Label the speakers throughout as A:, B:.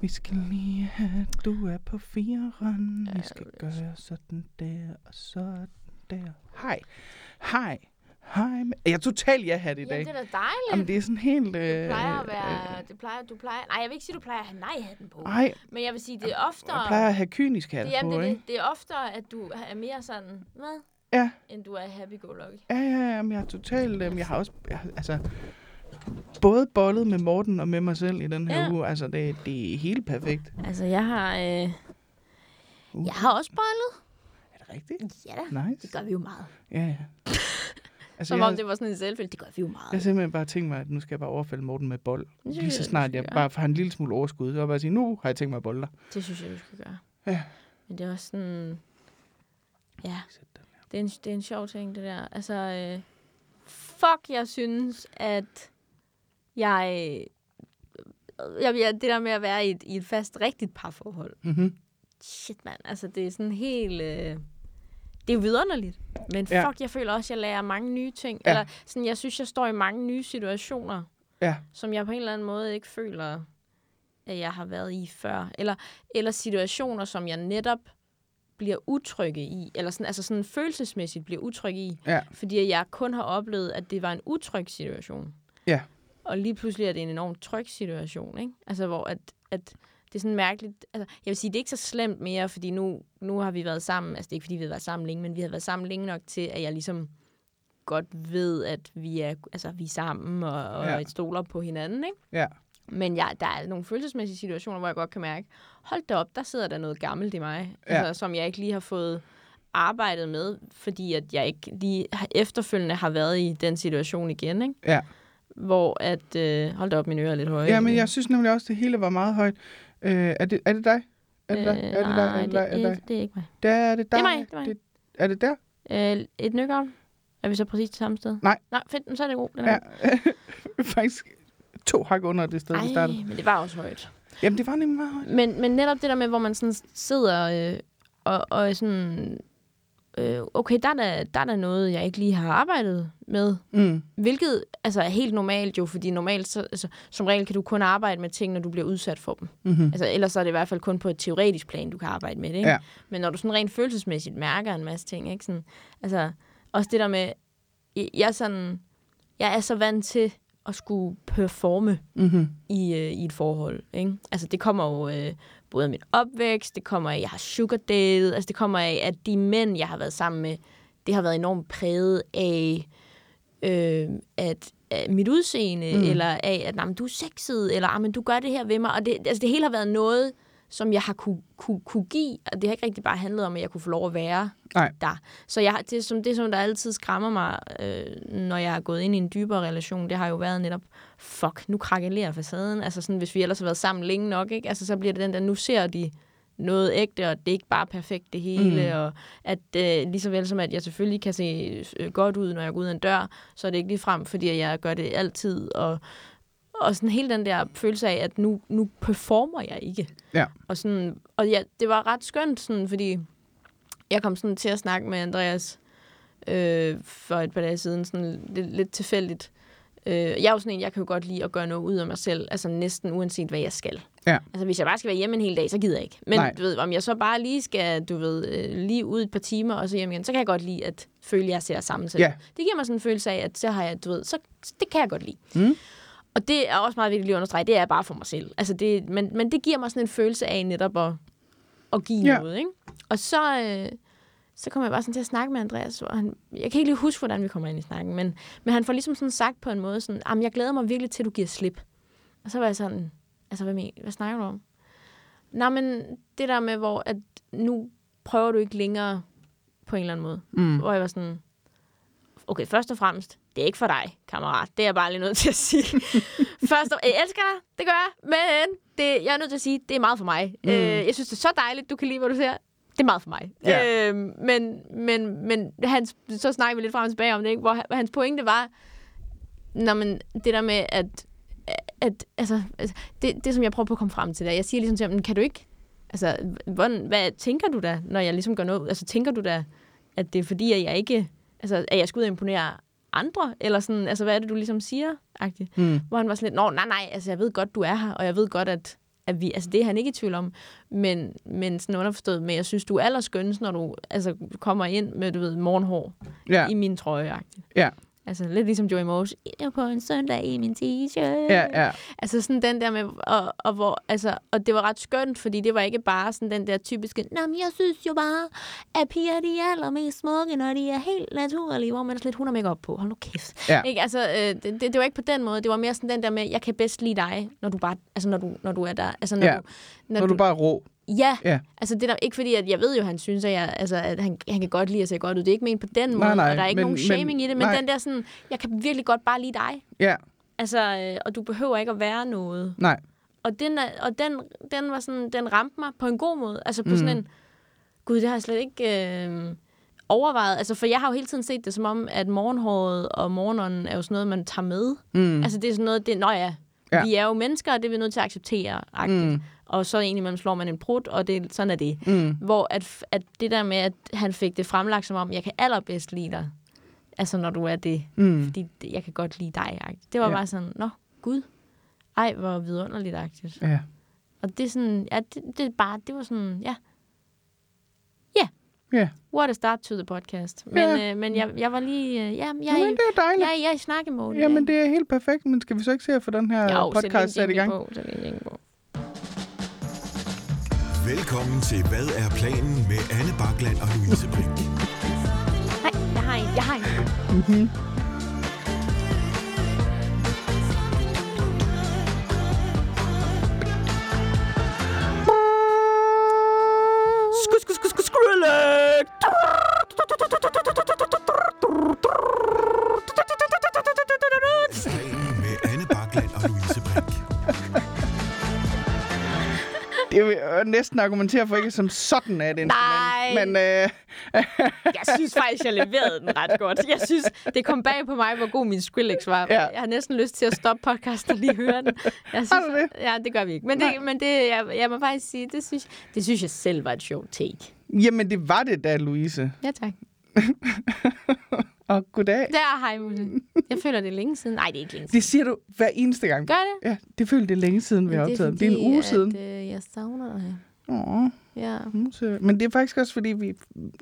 A: Vi skal lige have, du er på fireren. Vi skal
B: det er
A: gøre sådan der og sådan der. Hej. Hej. Hej. med- Jeg er totalt ja-hat i
B: Jamen,
A: dag.
B: det er da dejligt.
A: Jamen, det er sådan helt...
B: det
A: Øh,
B: plejer at være... Det plejer, du plejer... Nej, jeg vil ikke sige, du plejer at have nej-hatten på.
A: Nej,
B: Men jeg vil sige, det er oftere...
A: jeg plejer at have kynisk hat
B: det, jamen,
A: på,
B: det, er
A: ikke?
B: det, det er oftere, at du er mere sådan... Hvad?
A: Ja.
B: End du er happy-go-lucky.
A: Ja, ja, ja, men jeg er totalt... Øh, jeg har også... Jeg, har- altså, både bollet med Morten og med mig selv i den her
B: Ja.
A: uge. Altså, det, det er helt perfekt.
B: Altså, jeg har... Øh,
A: Uh.
B: jeg har også bollet.
A: Er det rigtigt?
B: Ja da.
A: Nice.
B: Det gør vi jo meget.
A: Ja, ja. Altså,
B: Som
A: jeg,
B: om det var sådan en selvfølge. Det gør vi jo meget.
A: jeg har simpelthen bare tænkt mig, at nu skal jeg bare overfalde Morten med bold.
B: synes
A: Lige så
B: jeg, du
A: snart
B: skal
A: jeg
B: gøre.
A: bare har en lille smule overskud, så vil jeg bare sige, nu har jeg tænkt mig at bolde dig.
B: Det synes jeg, du skal gøre.
A: Ja.
B: Men det er også sådan... Ja,
A: Sæt den her.
B: det er en, det er en sjov ting, det der. Altså, øh, fuck, jeg synes, at jeg... Jeg, jeg, det der med at være i et, i et fast, rigtigt parforhold.
A: Mm-hmm.
B: Shit, mand. Altså, det er sådan helt... Øh, det er vidunderligt. Men
A: Ja.
B: fuck, jeg føler også, at jeg lærer mange nye ting.
A: Ja.
B: Ja. Eller sådan, jeg synes, jeg står i mange nye situationer,
A: Ja.
B: som jeg på en eller anden måde ikke føler, at jeg har været i før. Eller, eller situationer, som jeg netop bliver utrygge i, eller sådan, altså sådan følelsesmæssigt bliver utryg i,
A: Ja.
B: fordi jeg kun har oplevet, at det var en utryg situation.
A: Ja.
B: Og lige pludselig er det en enormt tryg situation, ikke? Altså, hvor at, at det er sådan mærkeligt. Altså, jeg vil sige, det er ikke så slemt mere, fordi nu, nu har vi været sammen. Altså, det er ikke, fordi vi har været sammen længe, men vi har været sammen længe nok til, at jeg ligesom godt ved, at vi er, altså, vi er sammen og, og
A: Ja.
B: ja. stoler på hinanden, ikke?
A: Ja.
B: Men jeg, der er nogle følelsesmæssige situationer, hvor jeg godt kan mærke, hold da op, der sidder der noget gammelt i mig,
A: Ja.
B: ja. altså, som jeg ikke lige har fået arbejdet med, fordi at jeg ikke lige har- efterfølgende har været i den situation igen, ikke?
A: Ja.
B: Hvor at, øh, hold da op, mine ører er lidt høje.
A: ja, men jeg synes nemlig også, at det hele var meget højt. Øh, er, det, er det dig? Er det dig? Er det dig? Er det dig? Er det dig?
B: Øh, det er ikke mig.
A: Der er det dig.
B: Det er mig, det er mig.
A: er det der?
B: Øh, et nykker. Er vi så præcis det samme sted?
A: Nej.
B: Nej, fedt, men så er det god. Den
A: Ja. Faktisk to hak under det sted, vi
B: Ej,
A: startede.
B: men det var også højt.
A: Jamen, det var nemlig meget højt.
B: Men, men netop det der med, hvor man sådan sidder øh, og, og er sådan... Øh, okay, der er, da, der er da noget, jeg ikke lige har arbejdet med.
A: Mm.
B: Hvilket altså, er helt normalt jo, fordi normalt, så, altså, som regel kan du kun arbejde med ting, når du bliver udsat for dem.
A: Mm-hmm.
B: Altså, ellers så er det i hvert fald kun på et teoretisk plan, du kan arbejde med det. Ikke?
A: Ja.
B: Men når du sådan rent følelsesmæssigt mærker en masse ting, ikke? Sådan, altså, også det der med, jeg, jeg, er sådan, jeg er så vant til at skulle performe
A: Mm-hmm.
B: i, øh, i et forhold. Ikke? Altså, det kommer jo øh, både af min opvækst, det kommer af, at jeg har sugar datet, altså det kommer af, at de mænd, jeg har været sammen med, det har været enormt præget af, øh, at af mit udseende, mm. eller af, at nej, men du er sexet, eller ah, men du gør det her ved mig. Og det, altså, det hele har været noget, som jeg har kunne, kunne, kunne give, og det har ikke rigtig bare handlet om, at jeg kunne få lov at være
A: Nej.
B: der. Så jeg, har- det, er som, det, som der altid skræmmer mig, øh, når jeg er gået ind i en dybere relation, det har jo været netop, fuck, nu krakelerer facaden. Altså sådan, hvis vi ellers har været sammen længe nok, ikke? Altså, så bliver det den der, nu ser de noget ægte, og det er ikke bare perfekt det hele, mm. og at øh, lige så vel som, at jeg selvfølgelig kan se øh, godt ud, når jeg går ud af en dør, så er det ikke lige frem, fordi jeg gør det altid, og, og sådan hele den der følelse af, at nu, nu performer jeg ikke.
A: Ja.
B: Og, sådan, og ja, det var ret skønt, sådan, fordi jeg kom sådan til at snakke med Andreas øh, for et par dage siden, sådan lidt, lidt tilfældigt. Øh, jeg er jo sådan en, jeg kan jo godt lide at gøre noget ud af mig selv, altså næsten uanset, hvad jeg skal.
A: Ja.
B: Altså, hvis jeg bare skal være hjemme en hel dag, så gider jeg ikke. Men
A: Nej.
B: du ved, om jeg så bare lige skal, du ved, øh, lige ud et par timer og så hjem igen, så kan jeg godt lide at føle, at jeg ser sammen til.
A: Ja.
B: Det giver mig sådan en følelse af, at så har jeg, du ved, så det kan jeg godt lide.
A: Mm.
B: Og det er også meget vigtigt lige at understrege, det er bare for mig selv. Altså det, men, men det giver mig sådan en følelse af netop at, at give
A: Ja.
B: ja. noget, ikke? Og så, øh, så kommer jeg bare sådan til at snakke med Andreas, og han, jeg kan ikke lige huske, hvordan vi kommer ind i snakken, men, men han får ligesom sådan sagt på en måde sådan, jamen jeg glæder mig virkelig til, at du giver slip. Og så var jeg sådan, altså hvad, men, hvad snakker du om? Nej, men det der med, hvor at nu prøver du ikke længere på en eller anden måde.
A: Mm.
B: Hvor jeg var sådan, okay, først og fremmest, det er ikke for dig, kammerat. Det er jeg bare lige nødt til at sige. først og, jeg elsker dig, det gør jeg, men det, jeg er nødt til at sige, det er meget for mig. Mm. Øh, jeg synes, det er så dejligt, du kan lide, hvad du ser. Det er meget for mig.
A: Ja.
B: Øh, men men, men hans, så snakker vi lidt frem og tilbage om det, ikke? hvor han- hans pointe var, når man, det der med, at, at altså, altså, det, det, som jeg prøver på at komme frem til der, jeg siger ligesom til ham, "Men kan du ikke, altså, hvordan, hvad tænker du da, når jeg ligesom gør noget, ud? altså, tænker du da, at det er fordi, at jeg ikke, altså, at jeg skal ud og imponere andre, eller sådan, altså, hvad er det, du ligesom siger, agtigt?
A: Mm.
B: Hvor han var sådan lidt, nå, nej, nej, altså, jeg ved godt, du er her, og jeg ved godt, at at vi, altså det er han ikke i tvivl om, men, men sådan underforstået med, jeg synes, du er allerskønnest, når du altså, kommer ind med, du ved, morgenhår
A: Ja,
B: ja. i min trøje
A: Ja.
B: Altså lidt ligesom Joey Moyes, "Jeg er på en søndag i min t-shirt.
A: ja, ja.
B: Altså sådan den der med, og, og, hvor, altså, og det var ret skønt, fordi det var ikke bare sådan den der typiske, Nå, men jeg synes jo bare, at piger de er allermest smukke, når de er helt naturlige, hvor man er sådan lidt, hun har make op på, hold nu kæft.
A: Ja.
B: Ikke? Altså, øh, det, det, det, var ikke på den måde, det var mere sådan den der med, jeg kan bedst lide dig, når du, bare, altså, når du, når du er der. Altså, når
A: Ja.
B: du,
A: Når du bare er rå.
B: Ja,
A: Ja.
B: ja. altså det er der, ikke fordi, at jeg ved jo, at han synes, at, jeg, altså, at han, han kan godt lide at se godt ud. Det er ikke ment på den måde,
A: Nej, nej,
B: og der er ikke
A: men-
B: nogen
A: men-
B: shaming i det, men
A: nej.
B: den der sådan, jeg kan virkelig godt bare lide dig.
A: Ja,
B: Altså, øh, og du behøver ikke at være noget.
A: nej.
B: Og den, er- og den, den, var sådan, den ramte mig på en god måde. Altså på mm. sådan en, gud, det har jeg slet ikke øh, overvejet. Altså, for jeg har jo hele tiden set det som om, at morgenhåret og morgenånden er jo sådan noget, man tager med.
A: Mm.
B: Altså det er sådan noget, det, nå ja,
A: Ja.
B: ja. vi er jo mennesker, og det er vi nødt til at acceptere. Mm. Og så egentlig, man slår man en prut, og det, sådan er det.
A: Mm.
B: Hvor at, f- at det der med, at han fik det fremlagt som om, jeg kan allerbedst lide dig, altså når du er det,
A: Mm.
B: fordi det- jeg kan godt lide dig, agtigt. det var
A: Ja.
B: ja. bare sådan, nå, gud, ej, hvor vidunderligt, agtigt.
A: Ja.
B: Og det er sådan, ja, det, det er bare, det var sådan, ja,
A: Ja.
B: what a start to the podcast. Men,
A: Ja.
B: øh, men jeg, jeg var lige, øh, ja, jeg,
A: Jamen,
B: jeg,
A: det er dejligt.
B: jeg, jeg er i snakkemode.
A: Jamen, det er helt perfekt, men skal vi så ikke se at få den her
B: jo, sæt lige en
A: podcast sat i
B: jingle
A: gang?
B: På, sæt lige en jingle på.
C: Velkommen til Hvad er planen med Anne Bakland og Louise Brink.
B: Nej, jeg har en. Jeg har en.
A: Mm-hmm.
B: Sku, sku, sku, sku, Skrillex!
C: Planen med Anne Bakland og Louise Brink.
A: Det vil jeg næsten argumentere for ikke som sådan af et instrument.
B: Nej.
A: Men øh,
B: Jeg synes faktisk, jeg leverede den ret godt. Jeg synes, det kom bag på mig, hvor god min Skrillex var.
A: Ja.
B: Jeg har næsten lyst til at stoppe podcasten og lige høre den. Jeg synes,
A: Har du det?
B: Ja, det gør vi ikke. Men, det, men det, jeg, jeg må faktisk sige, det synes, det synes jeg selv var et sjovt take.
A: jamen, det var det da, Louise.
B: Ja, tak.
A: Og goddag.
B: Der, hej Musse. Jeg føler, det er længe siden. Nej, det er ikke længe siden.
A: Det siger du hver eneste gang.
B: Gør det?
A: Ja, det følte det er længe siden, vi har optaget. Det, det er en uge siden.
B: At, øh, jeg savner dig.
A: Åh,
B: Ja.
A: Musse. Men det er faktisk også, fordi vi,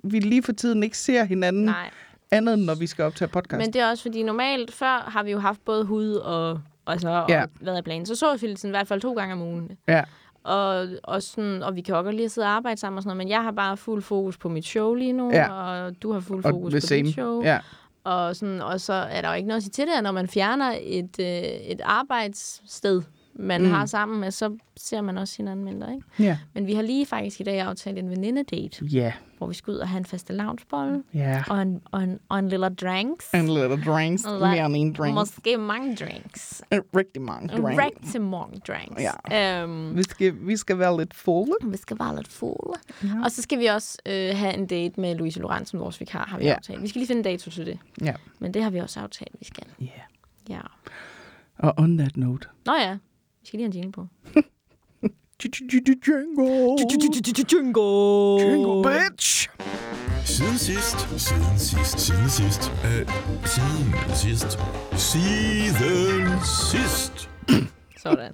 A: vi lige for tiden ikke ser hinanden
B: Nej,
A: andet, end når vi skal optage podcast.
B: men det er også fordi normalt før har vi jo haft både hud og, og så og
A: Ja.
B: været i planen. Så så vi sådan, i hvert fald to gange om ugen.
A: Ja,
B: Og, og, sådan, og vi kan også godt lige sidde og arbejde sammen og sådan noget, men jeg har bare fuld fokus på mit show lige nu,
A: Ja.
B: og du har fuld
A: og
B: fokus
A: the
B: på
A: same.
B: dit show.
A: Ja,
B: Og, sådan, og så er der jo ikke noget at sige til det, at når man fjerner et, øh, et arbejdssted, man
A: Mm.
B: mm. har sammen med, så ser man også hinanden mindre, ikke?
A: ja.
B: Men vi har lige faktisk i dag aftalt en venindedate,
A: Ja,
B: hvor vi skal ud og have en faste loungebolle
A: ja.
B: og en, og en, og en lille drinks.
A: En little drinks,
B: Og
A: mere end en drink.
B: Måske mange drinks.
A: Rigtig mange
B: En
A: drinks.
B: rigtig mange drinks. Ja. Øhm,
A: Vi skal, vi skal være lidt fulde.
B: vi skal bare lidt fulde. Ja. Og så skal vi også øh, have en date med Louise Lorentzen, vores vikar, har vi
A: Ja.
B: ja. aftalt. Vi skal lige finde en dato til det,
A: Ja.
B: men det har vi også aftalt, vi skal.
A: Yeah.
B: Ja.
A: Og on that note.
B: Nå ja, vi skal lige have en jingle på.
A: Django.
B: Jingle!
A: Django, bitch.
C: Siden sidst, siden sidst, siden sidst, øh, siden sidst, siden sidst.
B: Sådan.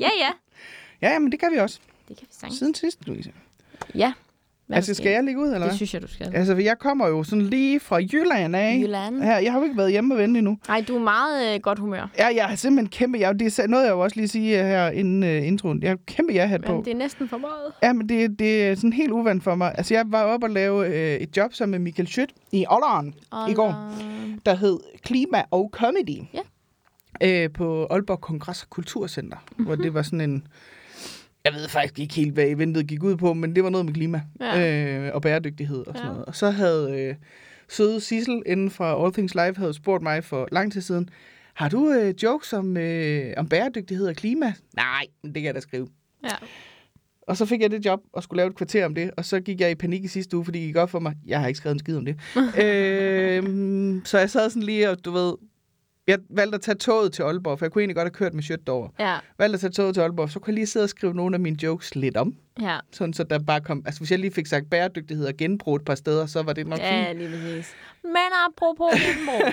B: Ja, ja.
A: Ja, ja, men det kan vi også.
B: Det kan vi sange.
A: Siden sidst, Louise.
B: Ja. Hvad
A: altså, skal jeg ligge ud, eller
B: Det
A: hvad?
B: synes jeg, du skal.
A: Altså, jeg kommer jo sådan lige fra Jylland af.
B: Jylland.
A: Her, jeg har jo ikke været hjemme og vente endnu.
B: Nej, du er meget øh, godt humør.
A: Ja, jeg er simpelthen kæmpe jeg, Det er noget, jeg jo også lige sige øh, her inden uh, introen. Jeg har kæmpe jeg-hat på.
B: Men det er næsten for meget.
A: Ja, men det, det er sådan helt uvandt for mig. Altså, jeg var oppe og lave øh, et job sammen med Michael Schødt i Ålderen i går, der hed Klima og Comedy.
B: Ja. Mhm.
A: Øh, på Aalborg Kongress og Kulturcenter, mm-hmm. hvor det var sådan en... Jeg ved faktisk ikke helt, hvad eventet gik ud på, men det var noget med klima
B: Ja.
A: øh, og bæredygtighed og sådan
B: Ja.
A: noget. Og så havde øh, søde Sissel inden fra All Things Live havde spurgt mig for lang tid siden, har du øh, jokes om, øh, om bæredygtighed og klima? Nej, men det kan jeg da skrive.
B: Ja.
A: Og så fik jeg det job og skulle lave et kvarter om det, og så gik jeg i panik i sidste uge, fordi det gik op for mig, jeg har ikke skrevet en skid om det. øhm, så jeg sad sådan lige og, du ved, Jeg valgte at tage toget til Aalborg, for jeg kunne egentlig godt have kørt med shirt over.
B: Ja,
A: Valgte at tage toget til Aalborg, så kunne jeg lige sidde og skrive nogle af mine jokes lidt om.
B: ja.
A: Sådan så der bare kom... Altså hvis jeg lige fik sagt bæredygtighed og genbrug et par steder, så var det nok
B: Ja,
A: fint.
B: lige præcis. Men apropos Vimbo,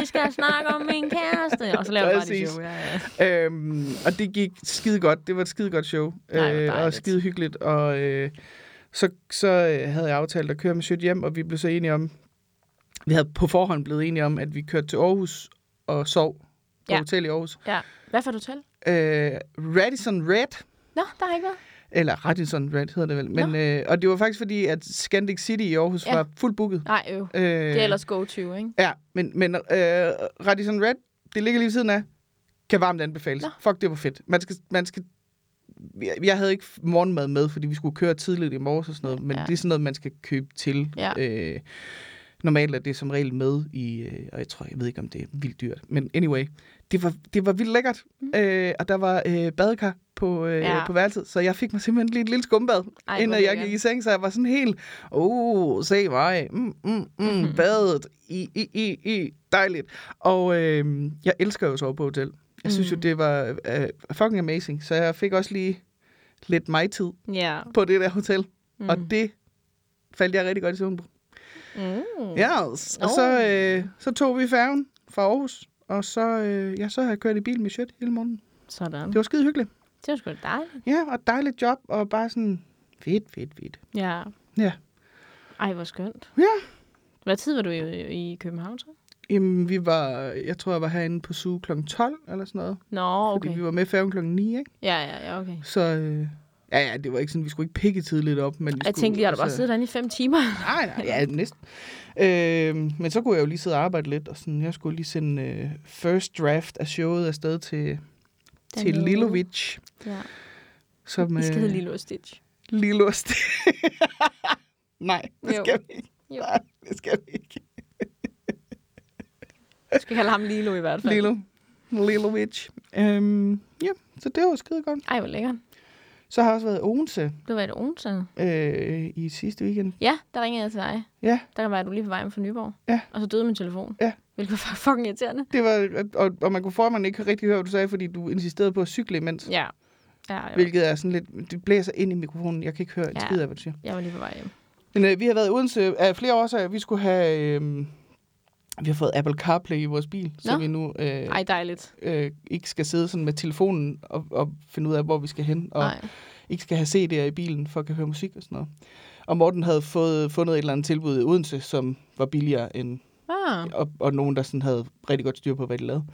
B: vi skal snakke om min kæreste. Og så laver jeg bare det
A: Præcis.
B: show. Ja, ja.
A: Øhm, og det gik skide godt. Det var et skide godt show.
B: Nej, hvor
A: øh, og
B: dejligt.
A: skide hyggeligt. Og øh, så, så øh, havde jeg aftalt at køre med Sjøt hjem, og vi blev så enige om... Vi havde på forhånd blevet enige om, at vi kørte til Aarhus og sov på
B: Ja.
A: ja. hotel i Aarhus.
B: ja. Hvad får du til?
A: Øh, Radisson Red,
B: Nå, der har ikke været.
A: eller Radisson Red hedder det vel. Men, øh, og det var faktisk fordi, at Scandic City i Aarhus
B: Ja.
A: ja. var fuldt booket.
B: Nej, øv.
A: Øh,
B: Det er ellers go-to, ikke?
A: Ja, men, men øh, Radisson Red, det ligger lige ved siden af, kan varmt anbefales.
B: Nå.
A: Nå. Fuck, det var fedt. Man skal, man skal jeg- jeg havde ikke morgenmad med, fordi vi skulle køre tidligt i morges og sådan noget, men
B: Ja.
A: ja. det er sådan noget, man skal købe til.
B: Ja.
A: Øh, normalt er det som regel med i, øh, og jeg tror, jeg ved ikke, om det er vildt dyrt, men anyway, det var, det var vildt lækkert, mm. øh, og der var øh, badekar på, øh,
B: Ja.
A: ja. på værelset, så jeg fik mig simpelthen lige et lille skumbad,
B: Ej,
A: Ej,
B: hvor
A: inden jeg
B: lækkert.
A: gik i seng, så jeg var sådan helt, oh, se mig, mm, mm, mm, badet, i, i, i, i, dejligt. Og øh, jeg elsker jo at sove på hotel. Jeg synes jo, det var øh, fucking amazing, så jeg fik også lige lidt mig tid
B: Ja.
A: på det der hotel, mm. og det faldt jeg rigtig godt i søvn på.
B: Mm.
A: Ja, yes. og så, øh, så tog vi færgen fra Aarhus, og så, øh, ja, så har jeg kørt i bil med shit hele morgenen.
B: Sådan.
A: Det var skide hyggeligt.
B: Det var sgu da dejligt.
A: Ja, og dejligt job, og bare sådan fedt, fedt, fedt.
B: Ja.
A: Ja.
B: Ej, hvor skønt.
A: Ja.
B: Hvad tid var du i, i København så?
A: Jamen, vi var, jeg tror, jeg var herinde på suge kl. 12 eller sådan noget.
B: Nå,
A: Okay. Fordi vi
B: okay.
A: var med færgen kl. 9, ikke?
B: Ja, ja, ja, okay.
A: Så, øh, ja, ja, det var ikke sådan, vi skulle ikke pikke tidligt op. Men vi
B: Jeg
A: skulle, altså-
B: tænkte lige, har du bare siddet derinde i fem timer?
A: Nej, nej, ja, næsten. Øh, men så kunne jeg jo lige sidde og arbejde lidt, og sådan, jeg skulle lige sende øh, first draft af showet afsted til, til
B: Dernede.
A: Lilovic.
B: Ja.
A: Som,
B: Vi skal hedde
A: øh,
B: Lilo og Stitch.
A: Lilo og Stitch. Nej, det
B: Jo.
A: skal vi ikke.
B: Jo.
A: Nej, det skal vi ikke.
B: Vi skal kalde ham Lilo i hvert fald.
A: Lilo. Lilo Witch. Øhm, ja, så det var skide godt.
B: Ej, hvor lækkert.
A: Så har jeg også været i Odense
B: Du var i det onsdag.
A: øh, i sidste weekend.
B: Ja, der ringede jeg til dig.
A: Ja,
B: Der var du lige på vej hjem fra Nyborg.
A: Ja.
B: Og så døde min telefon.
A: Ja.
B: Hvilket var fucking irriterende.
A: det var, og, og man kunne formanden ikke rigtig høre, hvad du sagde, fordi du insisterede på at cykle imens.
B: Ja. Ja, jeg, var,
A: Hvilket er sådan lidt, det blæser ind i mikrofonen. Jeg kan ikke høre en
B: Ja.
A: skid af, hvad du siger.
B: jeg var lige på vej hjem.
A: Men øh, vi har været i Odense af flere årsager. Vi skulle have, øh, vi har fået Apple CarPlay i vores bil, så
B: Nå.
A: vi nu øh,
B: Ej, dejligt.
A: øh, ikke skal sidde sådan med telefonen og, og finde ud af, hvor vi skal hen. Og
B: Nej.
A: ikke skal have CD'er i bilen for at kan høre musik og sådan noget. Og Morten havde fået, fundet et eller andet tilbud i Odense, som var billigere end
B: Ah.
A: og, og nogen, der sådan havde rigtig godt styr på, hvad de lavede.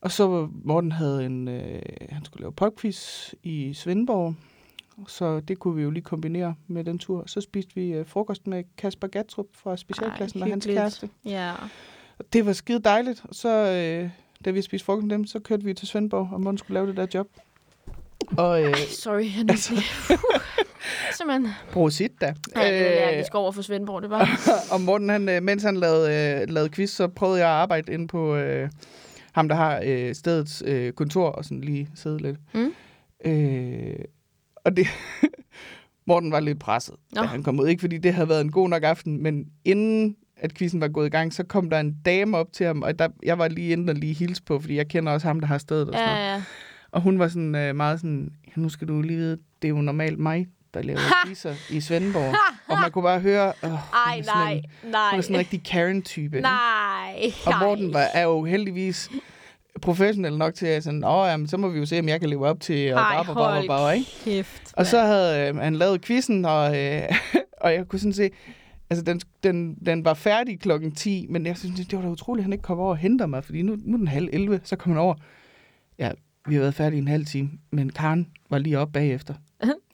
A: Og så var- Morten havde en, øh, han skulle lave popquiz i Svendborg, så det kunne vi jo lige kombinere med den tur. Så spiste vi øh, frokost med Kasper Gatrup fra specialklassen Ej, og hans
B: hyggeligt.
A: kæreste.
B: Ja.
A: Og det var skide dejligt, og så øh, da vi spiste frokost med dem, så kørte vi til Svendborg, og Morten skulle lave det der job. Og øh,
B: Ej, sorry. Jeg nødte altså. Simpelthen.
A: brug sit da.
B: Ej, jeg er
A: Øh.
B: allergisk over for Svendborg. Det var
A: og Morten, han, øh, mens han lavede, øh, lavede quiz, så prøvede jeg at arbejde inde på øh, ham, der har øh, stedets øh, kontor, og sådan lige sidde lidt.
B: Mm.
A: Øh, og det... Morten var lidt presset,
B: Nå.
A: da han kom ud. Ikke fordi det havde været en god nok aften, men inden at quizzen var gået i gang, så kom der en dame op til ham, og der, jeg var lige inde og lige hilse på, fordi jeg kender også ham, der har stedet og sådan noget.
B: ja, ja.
A: Og hun var sådan øh, meget sådan, nu skal du lige vide, det er jo normalt mig, der laver quizzer i Svendborg. og man kunne bare høre, øh,
B: Ej, nej, nej.
A: hun er sådan en rigtig Karen-type. ikke?
B: Nej.
A: Og
B: nej.
A: Morten var, er jo heldigvis professionel nok til, at sådan, Åh, jamen, så må vi jo se, om jeg kan leve op til, og
B: Ej,
A: bare, bare, bare,
B: hold
A: bare, ikke?
B: kæft.
A: Og så
B: mand.
A: havde øh, han lavet quizzen, og, øh, og jeg kunne sådan se, altså den, den, den var færdig klokken 10, men jeg synes, det var da utroligt, at han ikke kom over og henter mig, fordi nu, nu er den halv 11, så kom han over. Ja, vi har været færdige i en halv time, men Karen var lige oppe bagefter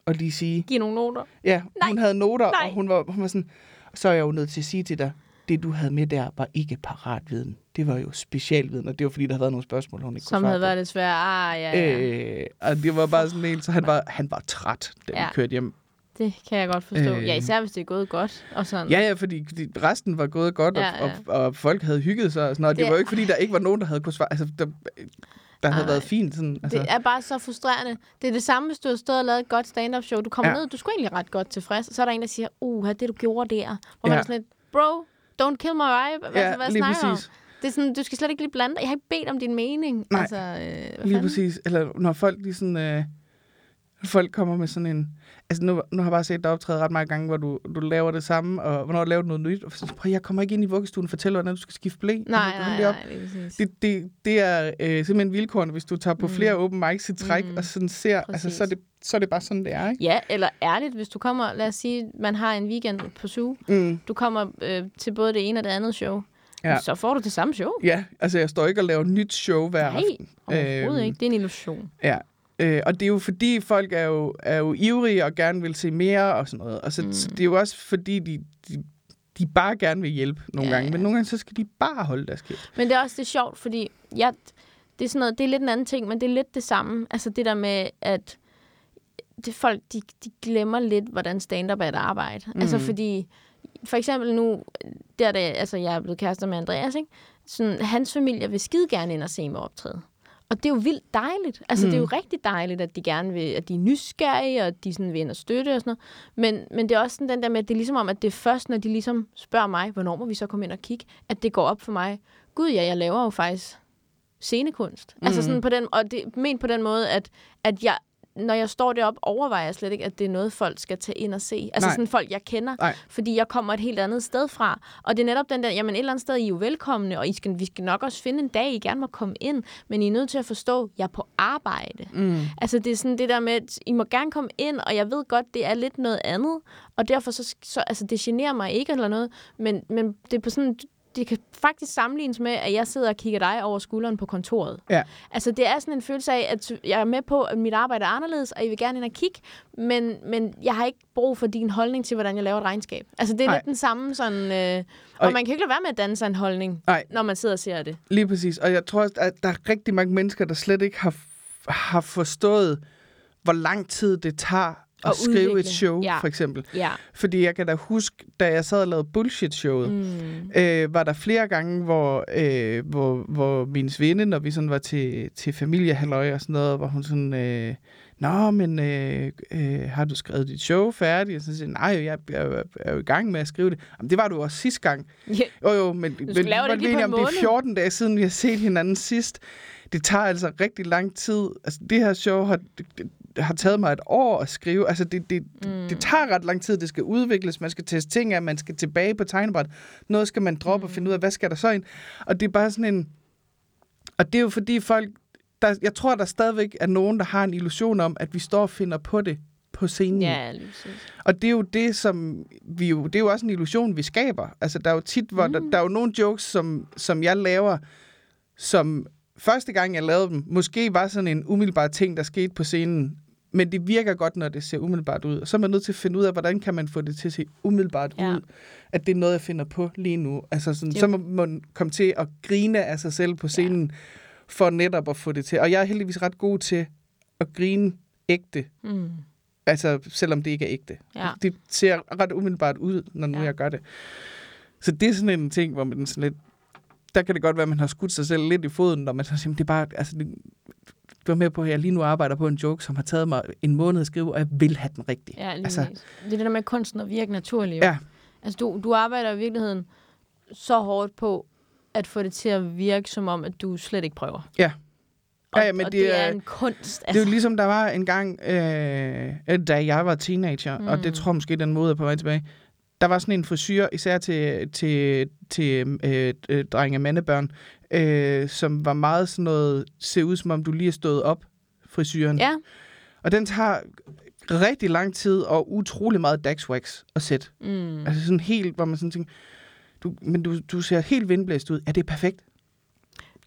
A: og lige sige,
B: Giv nogle noter.
A: ja, Nej. hun
B: Nej.
A: havde noter,
B: Nej.
A: og hun var, hun var sådan, så er jeg jo nødt til at sige til dig, det du havde med der var ikke paratviden. Det var jo specialviden, og det var fordi, der havde været nogle spørgsmål, hun ikke
B: Som
A: kunne svare
B: havde
A: på.
B: været lidt svært. Ah, ja, ja.
A: Øh, og det var bare sådan en, så han var, han var træt, da ja.
B: Ja. Mm.
A: vi kørte hjem.
B: Det kan jeg godt forstå.
A: Øh.
B: Ja, især hvis det er gået godt. Og sådan.
A: Ja, ja, fordi fordi resten var gået godt, og,
B: Ja,
A: ja,
B: ja.
A: ja. Og, og folk havde hygget sig og sådan noget. Det,
B: Det-
A: det var jo ikke, fordi der ikke var nogen, der havde kunnet svare. Altså, der, der havde
B: Ej.
A: været fint. Sådan, altså.
B: Det er bare så frustrerende. Det er det samme, hvis du har stået og lavet et godt stand-up show. Du kommer ja.
A: Ja.
B: ned, du skulle egentlig ret godt tilfreds, og så er der en, der siger, uha, det du gjorde der. Hvor ja. man
A: Ja.
B: er sådan lidt, bro, don't kill my vibe. Hvad, ja,
A: ja,
B: hvad
A: lige
B: snakker du om?
A: præcis.
B: Det er sådan, du skal slet ikke lige blande dig. Jeg har ikke bedt om din mening.
A: Nej,
B: altså, øh, hvad
A: Lige
B: fanden?
A: præcis. Eller når folk lige sådan... Øh, når folk kommer med sådan en... Altså nu, nu har jeg bare set dig optræde ret mange gange, hvor du, du laver det samme, og hvornår laver du noget nyt. Og sådan, prøv, jeg kommer ikke ind i vuggestuen og fortæller, hvordan du skal skifte blæ.
B: Nej,
A: Altså,
B: nej,
A: hold lige op.
B: nej, lige præcis.
A: Det, det, det er øh, simpelthen vilkårene, hvis du tager på
B: Mm.
A: flere open mics i træk,
B: Mm.
A: mm. og sådan ser, altså, så, er det, så er det bare sådan, det er, ikke?
B: Ja, eller ærligt, hvis du kommer, lad os sige, man har en weekend på SU,
A: Mm.
B: du kommer øh, til både det ene og det andet show, ja.
A: Ja.
B: så får du det samme show.
A: Ja, altså jeg står ikke og laver nyt show hver
B: Nej, overhovedet
A: Øhm.
B: ikke. Det er en illusion.
A: Ja. Øh, og det er jo fordi, folk er jo, er jo ivrige og gerne vil se mere og sådan noget. Og så, mm. så det er jo også fordi, de, de, de bare gerne vil hjælpe nogle
B: Ja,
A: ja, gange. Men nogle gange, så skal de bare holde deres kæft.
B: Men det er også det er sjovt, fordi jeg, det, er sådan noget, det er lidt en anden ting, men det er lidt det samme. Altså det der med, at det folk, de, de glemmer lidt, hvordan stand-up er et arbejde. Mm. Altså fordi, for eksempel nu, der da, altså jeg er blevet kærester med Andreas, ikke? Sådan, hans familie vil skide gerne ind og se mig optræde. Og det er jo vildt dejligt. Altså, mm. det er jo rigtig dejligt, at de gerne vil, at de er nysgerrige, og at de sådan vil ind og støtte og sådan noget. Men, men det er også sådan den der med, at det er ligesom om, at det er først, når de ligesom spørger mig, hvornår må vi så komme ind og kigge, at det går op for mig. Gud ja, jeg laver jo faktisk scenekunst. Mm. Altså sådan på den, og det er ment på den måde, at, at jeg, når jeg står deroppe, overvejer jeg slet ikke, at det er noget, folk skal tage ind og se. Altså Nej.
A: Nej.
B: sådan folk, jeg kender.
A: Nej.
B: Fordi jeg kommer et helt andet sted fra. Og det er netop den der, jamen et eller andet sted, I er jo velkomne, og I skal, vi skal nok også finde en dag, I gerne må komme ind. Men I er nødt til at forstå, at jeg er på arbejde.
A: Mm.
B: Altså det er sådan det der med, at I må gerne komme ind, og jeg ved godt, det er lidt noget andet. Og derfor så, så altså det generer mig ikke eller noget. Men, men det er på sådan, det kan faktisk sammenlignes med, at jeg sidder og kigger dig over skulderen på kontoret.
A: Ja.
B: Altså, det er sådan en følelse af, at jeg er med på, at mit arbejde er anderledes, og I vil gerne ind og kigge, men, men jeg har ikke brug for din holdning til, hvordan jeg laver et regnskab. Altså, det er
A: Nej.
B: lidt den samme sådan... Øh, og
A: Og-
B: man kan jo ikke lade være med at danne sig en holdning,
A: Nej.
B: når man sidder og ser det.
A: Lige præcis. Og jeg tror også, at der er rigtig mange mennesker, der slet ikke har, har forstået, hvor lang tid det tager at,
B: At
A: skrive et
B: udvikle.
A: show,
B: Ja.
A: for eksempel.
B: Ja.
A: Fordi jeg kan da huske, da jeg sad og lavede Bullshit-showet,
B: Mm.
A: øh, var der flere gange, hvor, øh, hvor, hvor min svinde, når vi sådan var til, til familiehalløj og sådan noget, hvor hun sådan, øh, Nå, men øh, øh, har du skrevet dit show færdigt? Og så siger jeg, nej, jeg, jeg, jeg er jo i gang med at skrive det. Jamen, det var du også sidste gang.
B: Ja.
A: Jo, jo, men, men
B: lave det
A: var
B: ikke
A: vi
B: lige
A: enige
B: på en
A: om, det
B: måned?
A: er 14 dage siden, vi har set hinanden sidst. Det tager altså rigtig lang tid. Altså, det her show har, det, det, har taget mig et år at skrive. Altså, det, det, mm. det tager ret lang tid. Det skal udvikles, man skal teste ting af, man skal tilbage på tegnebræt. Noget skal man droppe
B: Mm.
A: og finde ud af, hvad skal der så ind? Og det er bare sådan en... Og det er jo fordi folk... Der, jeg tror, der stadigvæk er nogen, der har en illusion om, at vi står og finder på det på scenen.
B: Ja, lige præcis.
A: Og det er jo det, som vi jo, det er jo også en illusion, vi skaber. Altså, der er jo tit, hvor mm. der, der er jo nogle jokes, som, som jeg laver, som første gang, jeg lavede dem, måske var sådan en umiddelbar ting, der skete på scenen, men det virker godt, når det ser umiddelbart ud. Og så er man nødt til at finde ud af, hvordan kan man få det til at se umiddelbart
B: Ja.
A: ja. ud. At det er noget, jeg finder på lige nu. Altså sådan,
B: Det-
A: så må man komme til at grine af sig selv på scenen, ja. for netop at få det til. Og jeg er heldigvis ret god til at grine ægte
B: Mm.
A: Altså, selvom det ikke er ægte.
B: Ja.
A: Det ser ret umiddelbart ud, når nu
B: Ja.
A: ja. jeg gør det. Så det er sådan en ting, hvor man sådan lidt... Der kan det godt være, at man har skudt sig selv lidt i foden, når man så siger, "Men det er bare... Altså, det, du er med på, at jeg lige nu arbejder på en joke, som har taget mig en måned at skrive, og jeg vil have den rigtig.
B: Ja, lige altså,
A: altså,
B: det er det der med kunsten at virke naturligt.
A: Ja.
B: Altså, du, du arbejder i virkeligheden så hårdt på at få det til at virke som om, at du slet ikke prøver.
A: Ja.
B: Og,
A: Ja, ja, men
B: og det,
A: det
B: er,
A: er-
B: en kunst.
A: Det er jo ligesom, der var en gang, øh, øh, da jeg var teenager, mm. og det tror jeg måske, den måde er på vej tilbage. Der var sådan en frisyr, især til, til, til øh, øh, drenge og mandebørn, øh, som var meget sådan noget, se ud som om du lige er stået op, frisyren.
B: altså. Ja,
A: Og den tager rigtig lang tid og utrolig meget dagswax at sætte.
B: Mm.
A: Altså sådan helt, hvor man sådan tænker, du, men du, du ser helt vindblæst ud. Er det perfekt?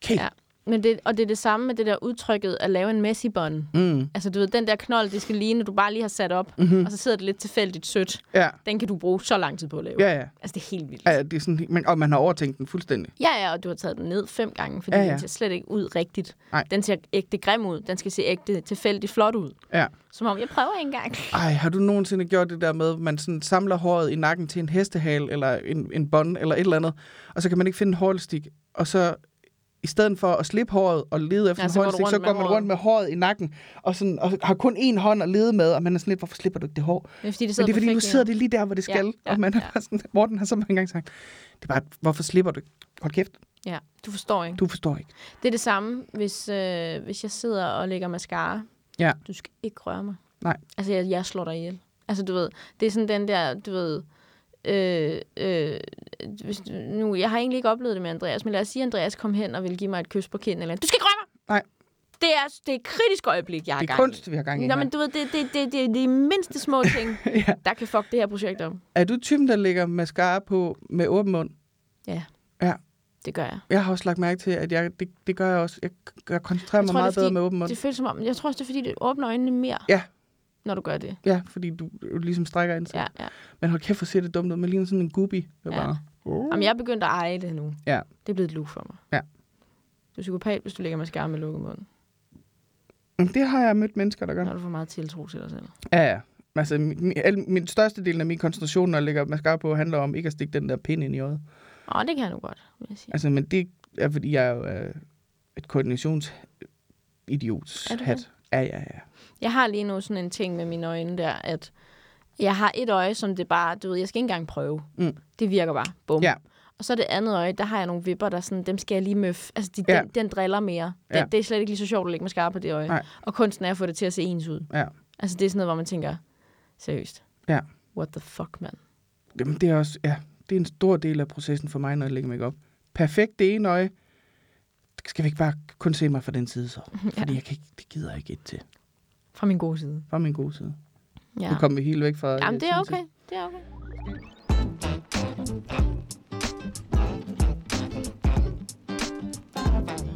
A: Okay.
B: Ja. Men det, og det er det samme med det der udtrykket at lave en messy bun.
A: Mm.
B: Altså, du ved, den der knold, det skal ligne, du bare lige har sat op,
A: Mhm.
B: mm-hmm. og så sidder det lidt tilfældigt sødt.
A: ja.
B: Den kan du bruge så lang tid på at lave.
A: Ja, ja.
B: Altså, det er helt vildt.
A: ja det er sådan, men, og man har overtænkt den fuldstændig.
B: Ja, ja, og du har taget den ned fem gange, fordi ja,
A: Ja,
B: ja.
A: ja.
B: den ser slet ikke ud rigtigt.
A: Nej.
B: Den ser ægte grim ud. Den skal se ægte tilfældigt flot ud.
A: Ja.
B: Som om, jeg prøver ikke engang.
A: Ej, har du nogensinde gjort det der med, at man sådan samler håret i nakken til en hestehale, eller en, en bånd, eller et eller andet, og så kan man ikke finde en hårlstik, og så i stedet for at slippe håret og lede efter
B: Ja,
A: ja, en
B: så går du
A: hårlstik,
B: rundt
A: så
B: med
A: går man
B: håret.
A: rundt med håret i nakken, og, sådan, og har kun én hånd at lede med, og man er sådan lidt, hvorfor slipper du ikke det hår?
B: Men fordi det
A: Men
B: sidder
A: det er fordi, nu
B: perfekt i
A: sidder det lige der, hvor det
B: Ja,
A: skal,
B: ja,
A: og man er
B: ja.
A: bare sådan, Morten har så mange gange sagt, det er bare, hvorfor slipper du ikke? Hold kæft.
B: Ja, du forstår ikke.
A: Du forstår ikke.
B: Det er det samme, hvis, øh, hvis jeg sidder og lægger mascara.
A: Ja.
B: Du skal ikke røre mig.
A: Nej.
B: Altså, jeg, jeg slår dig ihjel. Altså, du ved, det er sådan den der, du ved... Øh, øh, hvis, nu, jeg har egentlig ikke oplevet det med Andreas, men lad os sige, at Andreas kom hen og ville give mig et kys på kinden. Eller, du skal ikke røre mig!
A: Nej.
B: Det er, det er et kritisk øjeblik, jeg har
A: Det er
B: gang i.
A: kunst, vi har gang i.
B: Nå,
A: her.
B: men du ved, det, det, det, det er de mindste små ting,
A: ja.
B: der kan fuck det her projekt op.
A: Er du typen, der lægger mascara på med åben mund?
B: Det gør jeg.
A: Jeg har også lagt mærke til, at jeg, det, det gør jeg også. Jeg, jeg koncentrerer
B: Jeg
A: mig
B: tror, det er
A: meget bedre
B: fordi-
A: med åben mund.
B: Det føles som om, jeg tror også, det er fordi, det åbner øjnene mere,
A: Ja.
B: når du gør det.
A: Ja, fordi du, du ligesom strækker ind til.
B: Ja, ja.
A: Men hold kæft, hvor ser det dumt ud. Man ligner sådan en gubi. Ja.
B: Ja.
A: Bare.
B: Jamen, jeg er begyndt at eje det nu.
A: Ja.
B: Det er blevet et look for mig.
A: Ja.
B: Du er psykopat, hvis du lægger mascara med lukket mund,
A: Men Det har jeg mødt mennesker, der gør.
B: når du får meget tiltro til dig selv.
A: Ja, ja. Altså, min, min- al- min største del af min koncentration, når jeg lægger mascara på, handler om ikke at stikke den der pind ind i øjet.
B: Åh, det kan jeg nu godt, vil jeg sige.
A: Altså, men det er, fordi jeg er jo øh, et koordinationsidiots
B: Er du
A: hat. Ja, ja, ja.
B: Jeg har lige nu sådan en ting med mine øjne der, at jeg har et øje, som det bare, du ved, jeg skal ikke engang prøve.
A: Mm.
B: Det virker bare. Bum.
A: Ja.
B: Og så det andet øje, der har jeg nogle vipper, der sådan, dem skal jeg lige møffe. Altså, de,
A: Ja.
B: den, den driller mere. Den,
A: Ja.
B: Det er slet ikke lige så sjovt at lægge mascara på det øje.
A: Nej.
B: Og kunsten er at få det til at se ens ud.
A: Ja.
B: Altså, det er sådan noget, hvor man tænker, seriøst.
A: Ja.
B: What the fuck, mand?
A: Jamen, det er også, ja, det er en stor del af processen for mig, når jeg lægger mig op. Perfekt det ene øje. Skal vi ikke bare kun se mig fra den side så? Fordi jeg kan ikke, det gider jeg ikke et til.
B: Fra min gode side.
A: Fra min gode side.
B: Ja.
A: Nu kom vi helt væk fra...
B: Jamen,
A: øh,
B: det er
A: sådan set.
B: okay. Det er okay.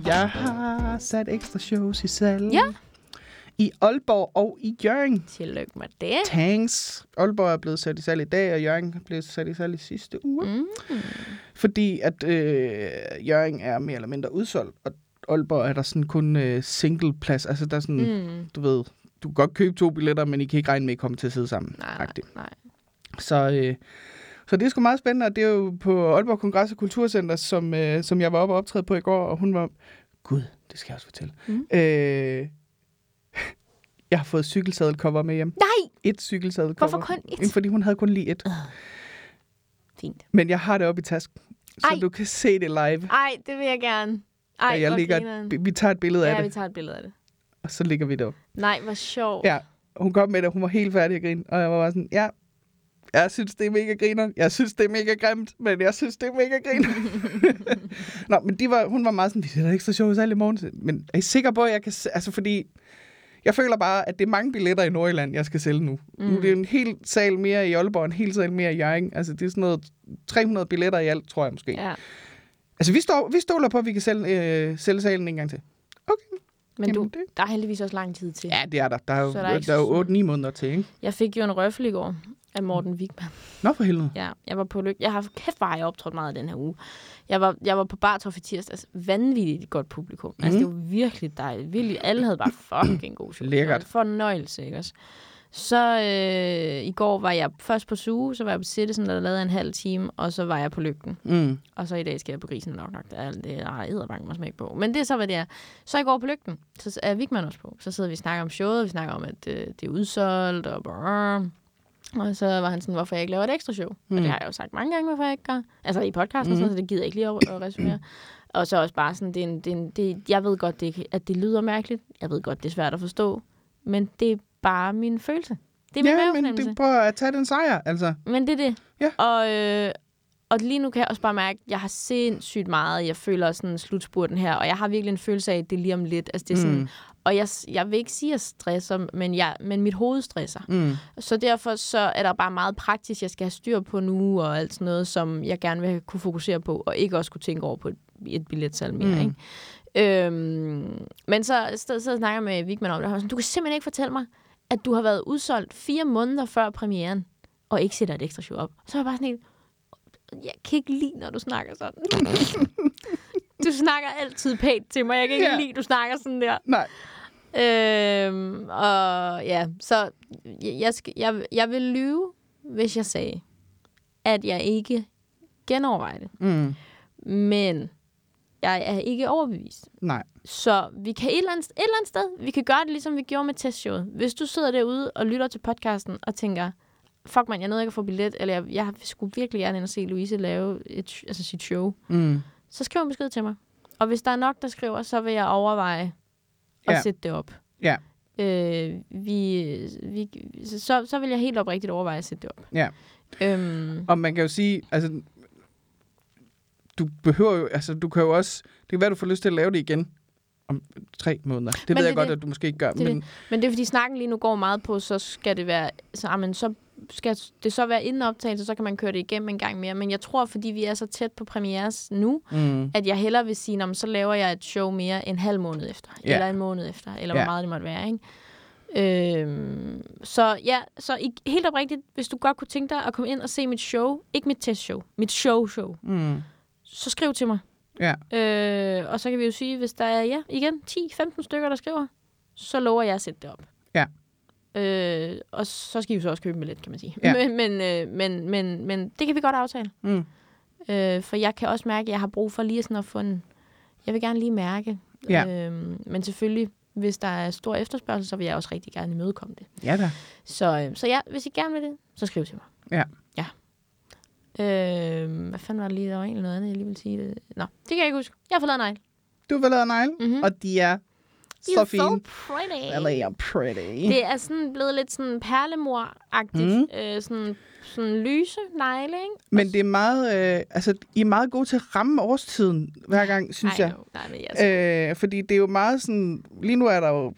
A: Jeg har sat ekstra shows i salen.
B: Ja.
A: I Aalborg og i Jørgen.
B: Tillykke med det.
A: Tanks. Aalborg er blevet sat i salg i dag, og Jørgen blev sat i salg i sidste uge.
B: Mm.
A: Fordi at øh, Jørgen er mere eller mindre udsolgt, og Aalborg er der sådan kun øh, singleplads. Altså der er sådan, mm.
B: Mm.
A: du ved, du kan godt købe to billetter, men I kan ikke regne med, at I kommer til at sidde sammen.
B: Nej, nej,
A: Agtigt.
B: nej.
A: Så, øh, så det er sgu meget spændende, og det er jo på Aalborg Kongress- og Kulturcenter, som, øh, som jeg var oppe og optræde på i går, og hun var... Gud, det skal jeg også fortælle.
B: Mhm.
A: Øh, jeg har fået cykelsadelcover med hjem.
B: Nej,
A: Et cykelsadelcover.
B: hvorfor kun
A: Jamen,
B: et?
A: Fordi hun havde kun lige et.
B: Fint.
A: Men jeg har det oppe i tasken, så
B: Ej.
A: du kan se det live.
B: Ej, det vil jeg gerne. Ej,
A: Ej, jeg
B: hvor
A: ligger,
B: grineren.
A: vi- vi tager et billede af
B: Ja, vi
A: det,
B: tager et billede af det.
A: og så ligger vi det op.
B: Nej, hvor sjovt.
A: Ja, hun kom med det, hun var helt færdig at grine, og jeg var bare sådan, ja, jeg synes, det er mega griner. Jeg synes, det er mega grimt, men jeg synes, det er mega griner. Nå, men de var, hun var meget sådan, vi sætter ekstra show i morgen. Men er I sikker på, at jeg kan... s- Altså, fordi jeg føler bare, at det er mange billetter i Nordjylland, jeg skal sælge nu. Mm. Nu er det jo en hel sal mere i Aalborg, en hel sal mere i Hjørring. Altså, det er sådan noget 300 billetter i alt, tror jeg måske.
B: ja.
A: Altså, vi, står, vi stoler på, at vi kan sælge, øh, sælge salen en gang til. Okay.
B: Men du,
A: Jamen, det-
B: der er heldigvis også lang tid til.
A: Ja, det er der. Der er jo,
B: Så
A: der
B: er der ikke
A: er jo
B: sådan-
A: 8-9 måneder til, ikke?
B: Jeg fik jo en røffel i går af Morten Wigman.
A: Nå, for helvede.
B: Ja, jeg var på lykke. Jeg har kæft, hvor har jeg optrådt meget i den her uge. Jeg var, jeg var på Bartof i tirsdags. Altså, Vanvittigt godt publikum. Mm.
A: Mhm.
B: Altså, det var virkelig dejligt. Virkelig, alle havde bare fucking god show.
A: Lækkert.
B: Det var en fornøjelse, ikke også? Så øh, i går var jeg først på suge, så var jeg på Citizen, der lavede jeg en halv time, og så var jeg på Lygten.
A: Mm.
B: Og så i dag skal jeg på grisen nok nok. Der er alt det, der har edderbank mig smæk på. Men det er så, hvad det er. Så i går på lygten, så er Vigman også på. Så sidder vi og snakker om showet, vi snakker om, at øh, det er udsolgt, og brrr. Og så var han sådan, hvorfor jeg ikke laver et ekstra show. Mm. Og det har jeg jo sagt mange gange, hvorfor jeg ikke gør. Altså i podcasten, mm. sådan, så det gider jeg ikke lige at, at resumere. Og så også bare sådan, det er en, det er en, det, jeg ved godt, det, ikke- at det lyder mærkeligt. Jeg ved godt, det er svært at forstå. Men det er bare min følelse. Det er min
A: Ja, men
B: mavefornemmelse.
A: du prøver at tage den sejr, altså.
B: Men det er det.
A: Ja.
B: Og, øh, og lige nu kan jeg også bare mærke, at jeg har sindssygt meget. Jeg føler sådan slutspurten her, og jeg har virkelig en følelse af, at det er lige om lidt. Altså, det er sådan,
A: Mm.
B: Og jeg, jeg vil ikke sige, at jeg stresser, men, jeg, men mit hoved stresser.
A: Mm.
B: Så derfor så er der bare meget praktisk, jeg skal have styr på nu, og alt sådan noget, som jeg gerne vil kunne fokusere på, og ikke også kunne tænke over på et, et billetsalg mere.
A: Mm.
B: Mm. Ikke? Øhm, men så, så, så snakker jeg med Vigman om det, og han var sådan, du kan simpelthen ikke fortælle mig, at du har været udsolgt fire måneder før premieren, og ikke sætter et ekstra show op. Så er jeg bare sådan helt, jeg kan ikke lide, når du snakker sådan. du snakker altid pænt til mig, jeg kan ikke
A: Ja.
B: yeah. lide, du snakker sådan der.
A: Nej.
B: Øhm, og ja, så jeg, jeg, skal, jeg, jeg vil lyve, hvis jeg sagde, at jeg ikke genovervejer det.
A: Mm.
B: Men jeg er ikke overbevist.
A: Nej.
B: Så vi kan et eller, andet, et eller andet sted, vi kan gøre det, ligesom vi gjorde med testshowet. Hvis du sidder derude og lytter til podcasten og tænker, fuck man, jeg nåede ikke at få billet, eller jeg, jeg skulle virkelig gerne ind og se Louise lave et, altså sit show,
A: Mm.
B: så skriv en besked til mig. Og hvis der er nok, der skriver, så vil jeg overveje at
A: Ja.
B: sætte det op.
A: Ja.
B: Øh, vi, vi, så, så vil jeg helt oprigtigt overveje at sætte det op.
A: Ja.
B: Øhm,
A: Og man kan jo sige, altså, du behøver jo, altså, du kan jo også, det kan være, du får lyst til at lave det igen om tre måneder. Det
B: Men
A: men ved
B: det
A: jeg
B: er
A: godt,
B: det.
A: at du måske ikke gør,
B: Det er
A: men
B: men det er fordi snakken lige nu går meget på, så skal det være, så, amen, så skal det så være inden optagelse, så kan man køre det igennem en gang mere. Men jeg tror, fordi vi er så tæt på premieres nu,
A: mm,
B: at jeg hellere vil sige, "Nå, men så laver jeg et show mere en halv måned efter,
A: Ja.
B: eller en måned efter, eller
A: Ja.
B: hvor meget det måtte være, ikke? Øhm, så ja, så i, helt oprigtigt, hvis du godt kunne tænke dig at komme ind og se mit show, ikke mit testshow, mit show-show,
A: mm,
B: så skriv til mig.
A: ja,
B: Øh, og så kan vi jo sige, hvis der er, ja, igen, 10-15 stykker, der skriver, så lover jeg at sætte det op.
A: Ja.
B: Øh, og så skal I jo så også købe en billet, kan man sige.
A: Ja.
B: Men, men, øh, men, men, men det kan vi godt aftale.
A: mm,
B: Øh, for jeg kan også mærke, at jeg har brug for lige sådan at få en... Jeg vil gerne lige mærke.
A: Ja.
B: Øhm, men selvfølgelig, hvis der er stor efterspørgsel, så vil jeg også rigtig gerne imødekomme det.
A: ja da.
B: Så, øh, så ja, hvis I gerne vil det, så skriv til mig.
A: Ja.
B: Ja. Øh, hvad fanden var det lige? Der var egentlig noget andet, jeg lige ville sige. Det. Nå, det kan jeg ikke huske. Jeg har forladet nej.
A: Du vil lave negle,
B: Mhm.
A: mm-hmm. og de er så
B: You're
A: fine.
B: so pretty.
A: Eller jeg er pretty.
B: Det er sådan blevet lidt sådan perlemor-agtigt.
A: Mm.
B: Mm. Øh, sådan, sådan lyse negle, ikke?
A: Men det er meget, øh, altså, I er meget gode til at ramme årstiden hver gang, synes
B: Ej,
A: jeg.
B: no. Nej, men jeg
A: Øh, fordi det er jo meget sådan... Lige nu er der jo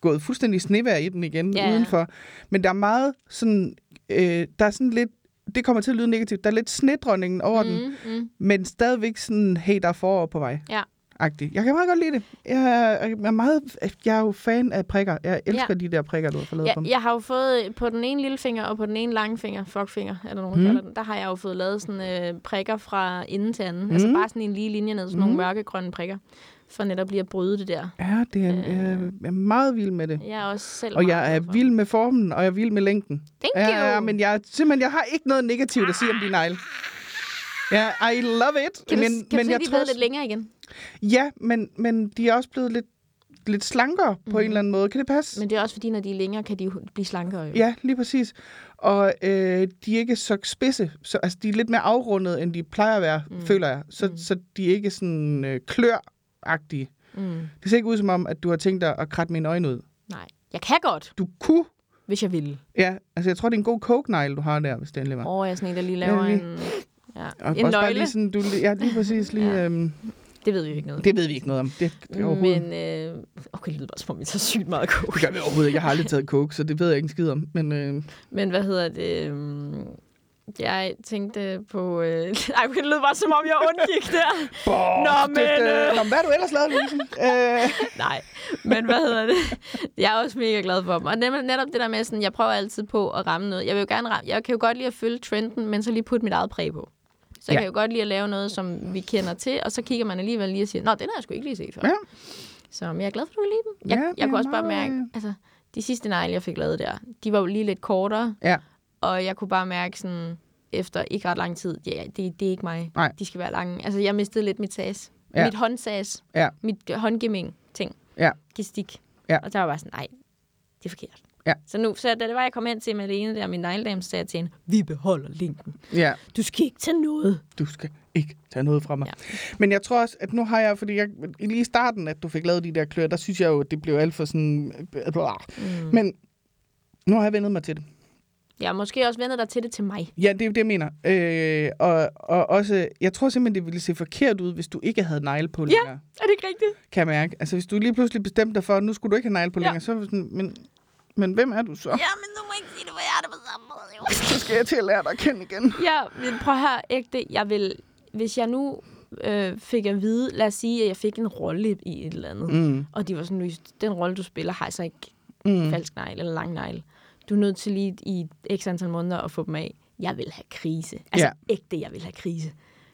A: gået fuldstændig snevær i den igen
B: Ja.
A: ja. udenfor. Men der er meget sådan... Øh, der er sådan lidt... Det kommer til at lyde negativt. Der er lidt snedronningen over mm. den,
B: mm, mm.
A: men stadigvæk sådan, hey, der er forår på vej.
B: Ja.
A: Agtig. Jeg kan meget godt lide det. Jeg er, jeg er, meget, jeg er jo fan af prikker. Jeg elsker ja.
B: Ja.
A: de der prikker, du har fået lavet
B: Ja,
A: på mig.
B: jeg har jo fået øh, på den ene lille finger og på den ene lange finger, fuckfinger, er der nogen, der
A: Mm.
B: kalder den, der har jeg jo fået lavet sådan øh, prikker fra inden til anden. Mm. Altså
A: Mm.
B: bare sådan en lige linje ned, sådan mm. nogle mørkegrønne prikker, for netop lige at bryde det der.
A: Ja, det er, øh, jeg er meget vild med det.
B: Jeg er også selv
A: Og
B: meget
A: jeg er
B: glad for.
A: vild med formen, og jeg er vild med længden.
B: Thank
A: Ja,
B: you!
A: ja, men jeg, er simpelthen, jeg har ikke noget negativt at sige om din negle. Ja, I love it.
B: Kan du,
A: men,
B: men, kan
A: men
B: du se,
A: jeg
B: de er
A: tror,
B: blevet lidt længere igen?
A: Ja, men, men de er også blevet lidt, lidt slankere mm. på en eller anden måde. Kan det passe? Men...
B: Mhm. Men det er også fordi, når de er længere, kan de jo blive slankere jo.
A: Ja, lige præcis. Og øh, de er ikke så spidse. Så, altså, de er lidt mere afrundet, end de plejer at være, mm. føler jeg. Så, mm. så de er ikke sådan øh, kløragtige.
B: Mm,
A: Det ser ikke ud som om, at du har tænkt dig at kratte mine øjne ud.
B: nej, jeg kan godt,
A: Du kunne.
B: hvis jeg vil.
A: Ja, altså jeg tror, det er en god coke du har der, hvis det endelig var.
B: Åh, oh, jeg er sådan en, der lige laver
A: Ja,
B: en,
A: lige-
B: ja,
A: Og
B: en
A: også bare
B: nøgle.
A: lige sådan, du, ja, lige præcis lige...
B: Ja.
A: ja. øhm,
B: Det ved vi jo ikke noget.
A: Det ved vi ikke noget om. Det, det overhovedet.
B: Men, øh, okay, det lyder bare, som om vi tager sygt meget coke.
A: Det gør vi overhovedet ikke. Jeg har aldrig taget coke, så det ved jeg ikke en skid om. Men øh,
B: Men hvad hedder det? øhm, Jeg tænkte på... Øh... Ej, okay, det lød bare, som om jeg undgik der.
A: boh,
B: Nå,
A: det,
B: men,
A: øh,
B: øh.
A: Nå, men hvad har du ellers lavet, Louise? øh,
B: Nej, men hvad hedder det? Jeg er også mega glad for dem. Og netop, netop det der med, sådan, jeg prøver altid på at ramme noget. Jeg, vil jo gerne ramme, jeg kan jo godt lide at følge trenden, men så lige putte mit eget præg på. Så jeg
A: Ja.
B: kan jo godt lide at lave noget, som vi kender til, og så kigger man alligevel lige og siger, Nå, den har jeg sgu ikke lige set før.
A: Ja.
B: Så men jeg er glad for, at du vil lide dem. Jeg,
A: Ja,
B: jeg
A: det
B: kunne
A: er
B: også bare
A: meget- øh,
B: mærke, altså, de sidste negle, jeg fik lavet der, de var jo lige lidt kortere,
A: ja,
B: Og jeg kunne bare mærke sådan, efter ikke ret lang tid, ja, det, det er ikke mig.
A: Nej.
B: De skal være lange. Altså, jeg mistede lidt mit sas. Ja.
A: Ja.
B: Mit håndsas.
A: Ja.
B: Mit håndgemming-ting.
A: Ja.
B: Gestik.
A: Ja.
B: Og der var jeg bare sådan, nej, det er forkert.
A: Ja.
B: Så nu, så da det var, jeg kom hen til Malene der, min negledame, så sagde jeg til hende, vi beholder linken.
A: ja,
B: Du skal ikke tage noget.
A: du skal ikke tage noget fra mig.
B: Ja.
A: Ja. Men jeg tror også, at nu har jeg, fordi jeg, lige i starten, at du fik lavet de der klør, der synes jeg jo, at det blev alt for sådan... Mm. Men nu har jeg vendet mig til det.
B: Jeg har måske også vendet dig til det til mig.
A: Ja, det er jo det, jeg mener. Øh, og, og også, jeg tror simpelthen, det ville se forkert ud, hvis du ikke havde negle på længere. Ja.
B: Er det ikke rigtigt?
A: kan jeg mærke. Altså, hvis du lige pludselig bestemte dig for, at nu skulle du ikke have negle på
B: Ja.
A: ja. længere, så er vi sådan, men, men hvem er du så?
B: Ja, men du må ikke sige det, hvor jeg er det på samme måde. Jo.
A: Så skal jeg til at lære dig at kende igen.
B: Ja, men prøv at høre, ægte. Jeg vil, hvis jeg nu øh, fik at vide, lad os sige, at jeg fik en rolle i et eller andet,
A: Mm.
B: og de var sådan, Louise, den rolle, du spiller, har altså ikke mm.
A: Mm.
B: falsk negl eller lang negl. Du er nødt til lige i x antal måneder at få dem af. Jeg vil have krise. Altså
A: Ja.
B: ægte, jeg vil have krise.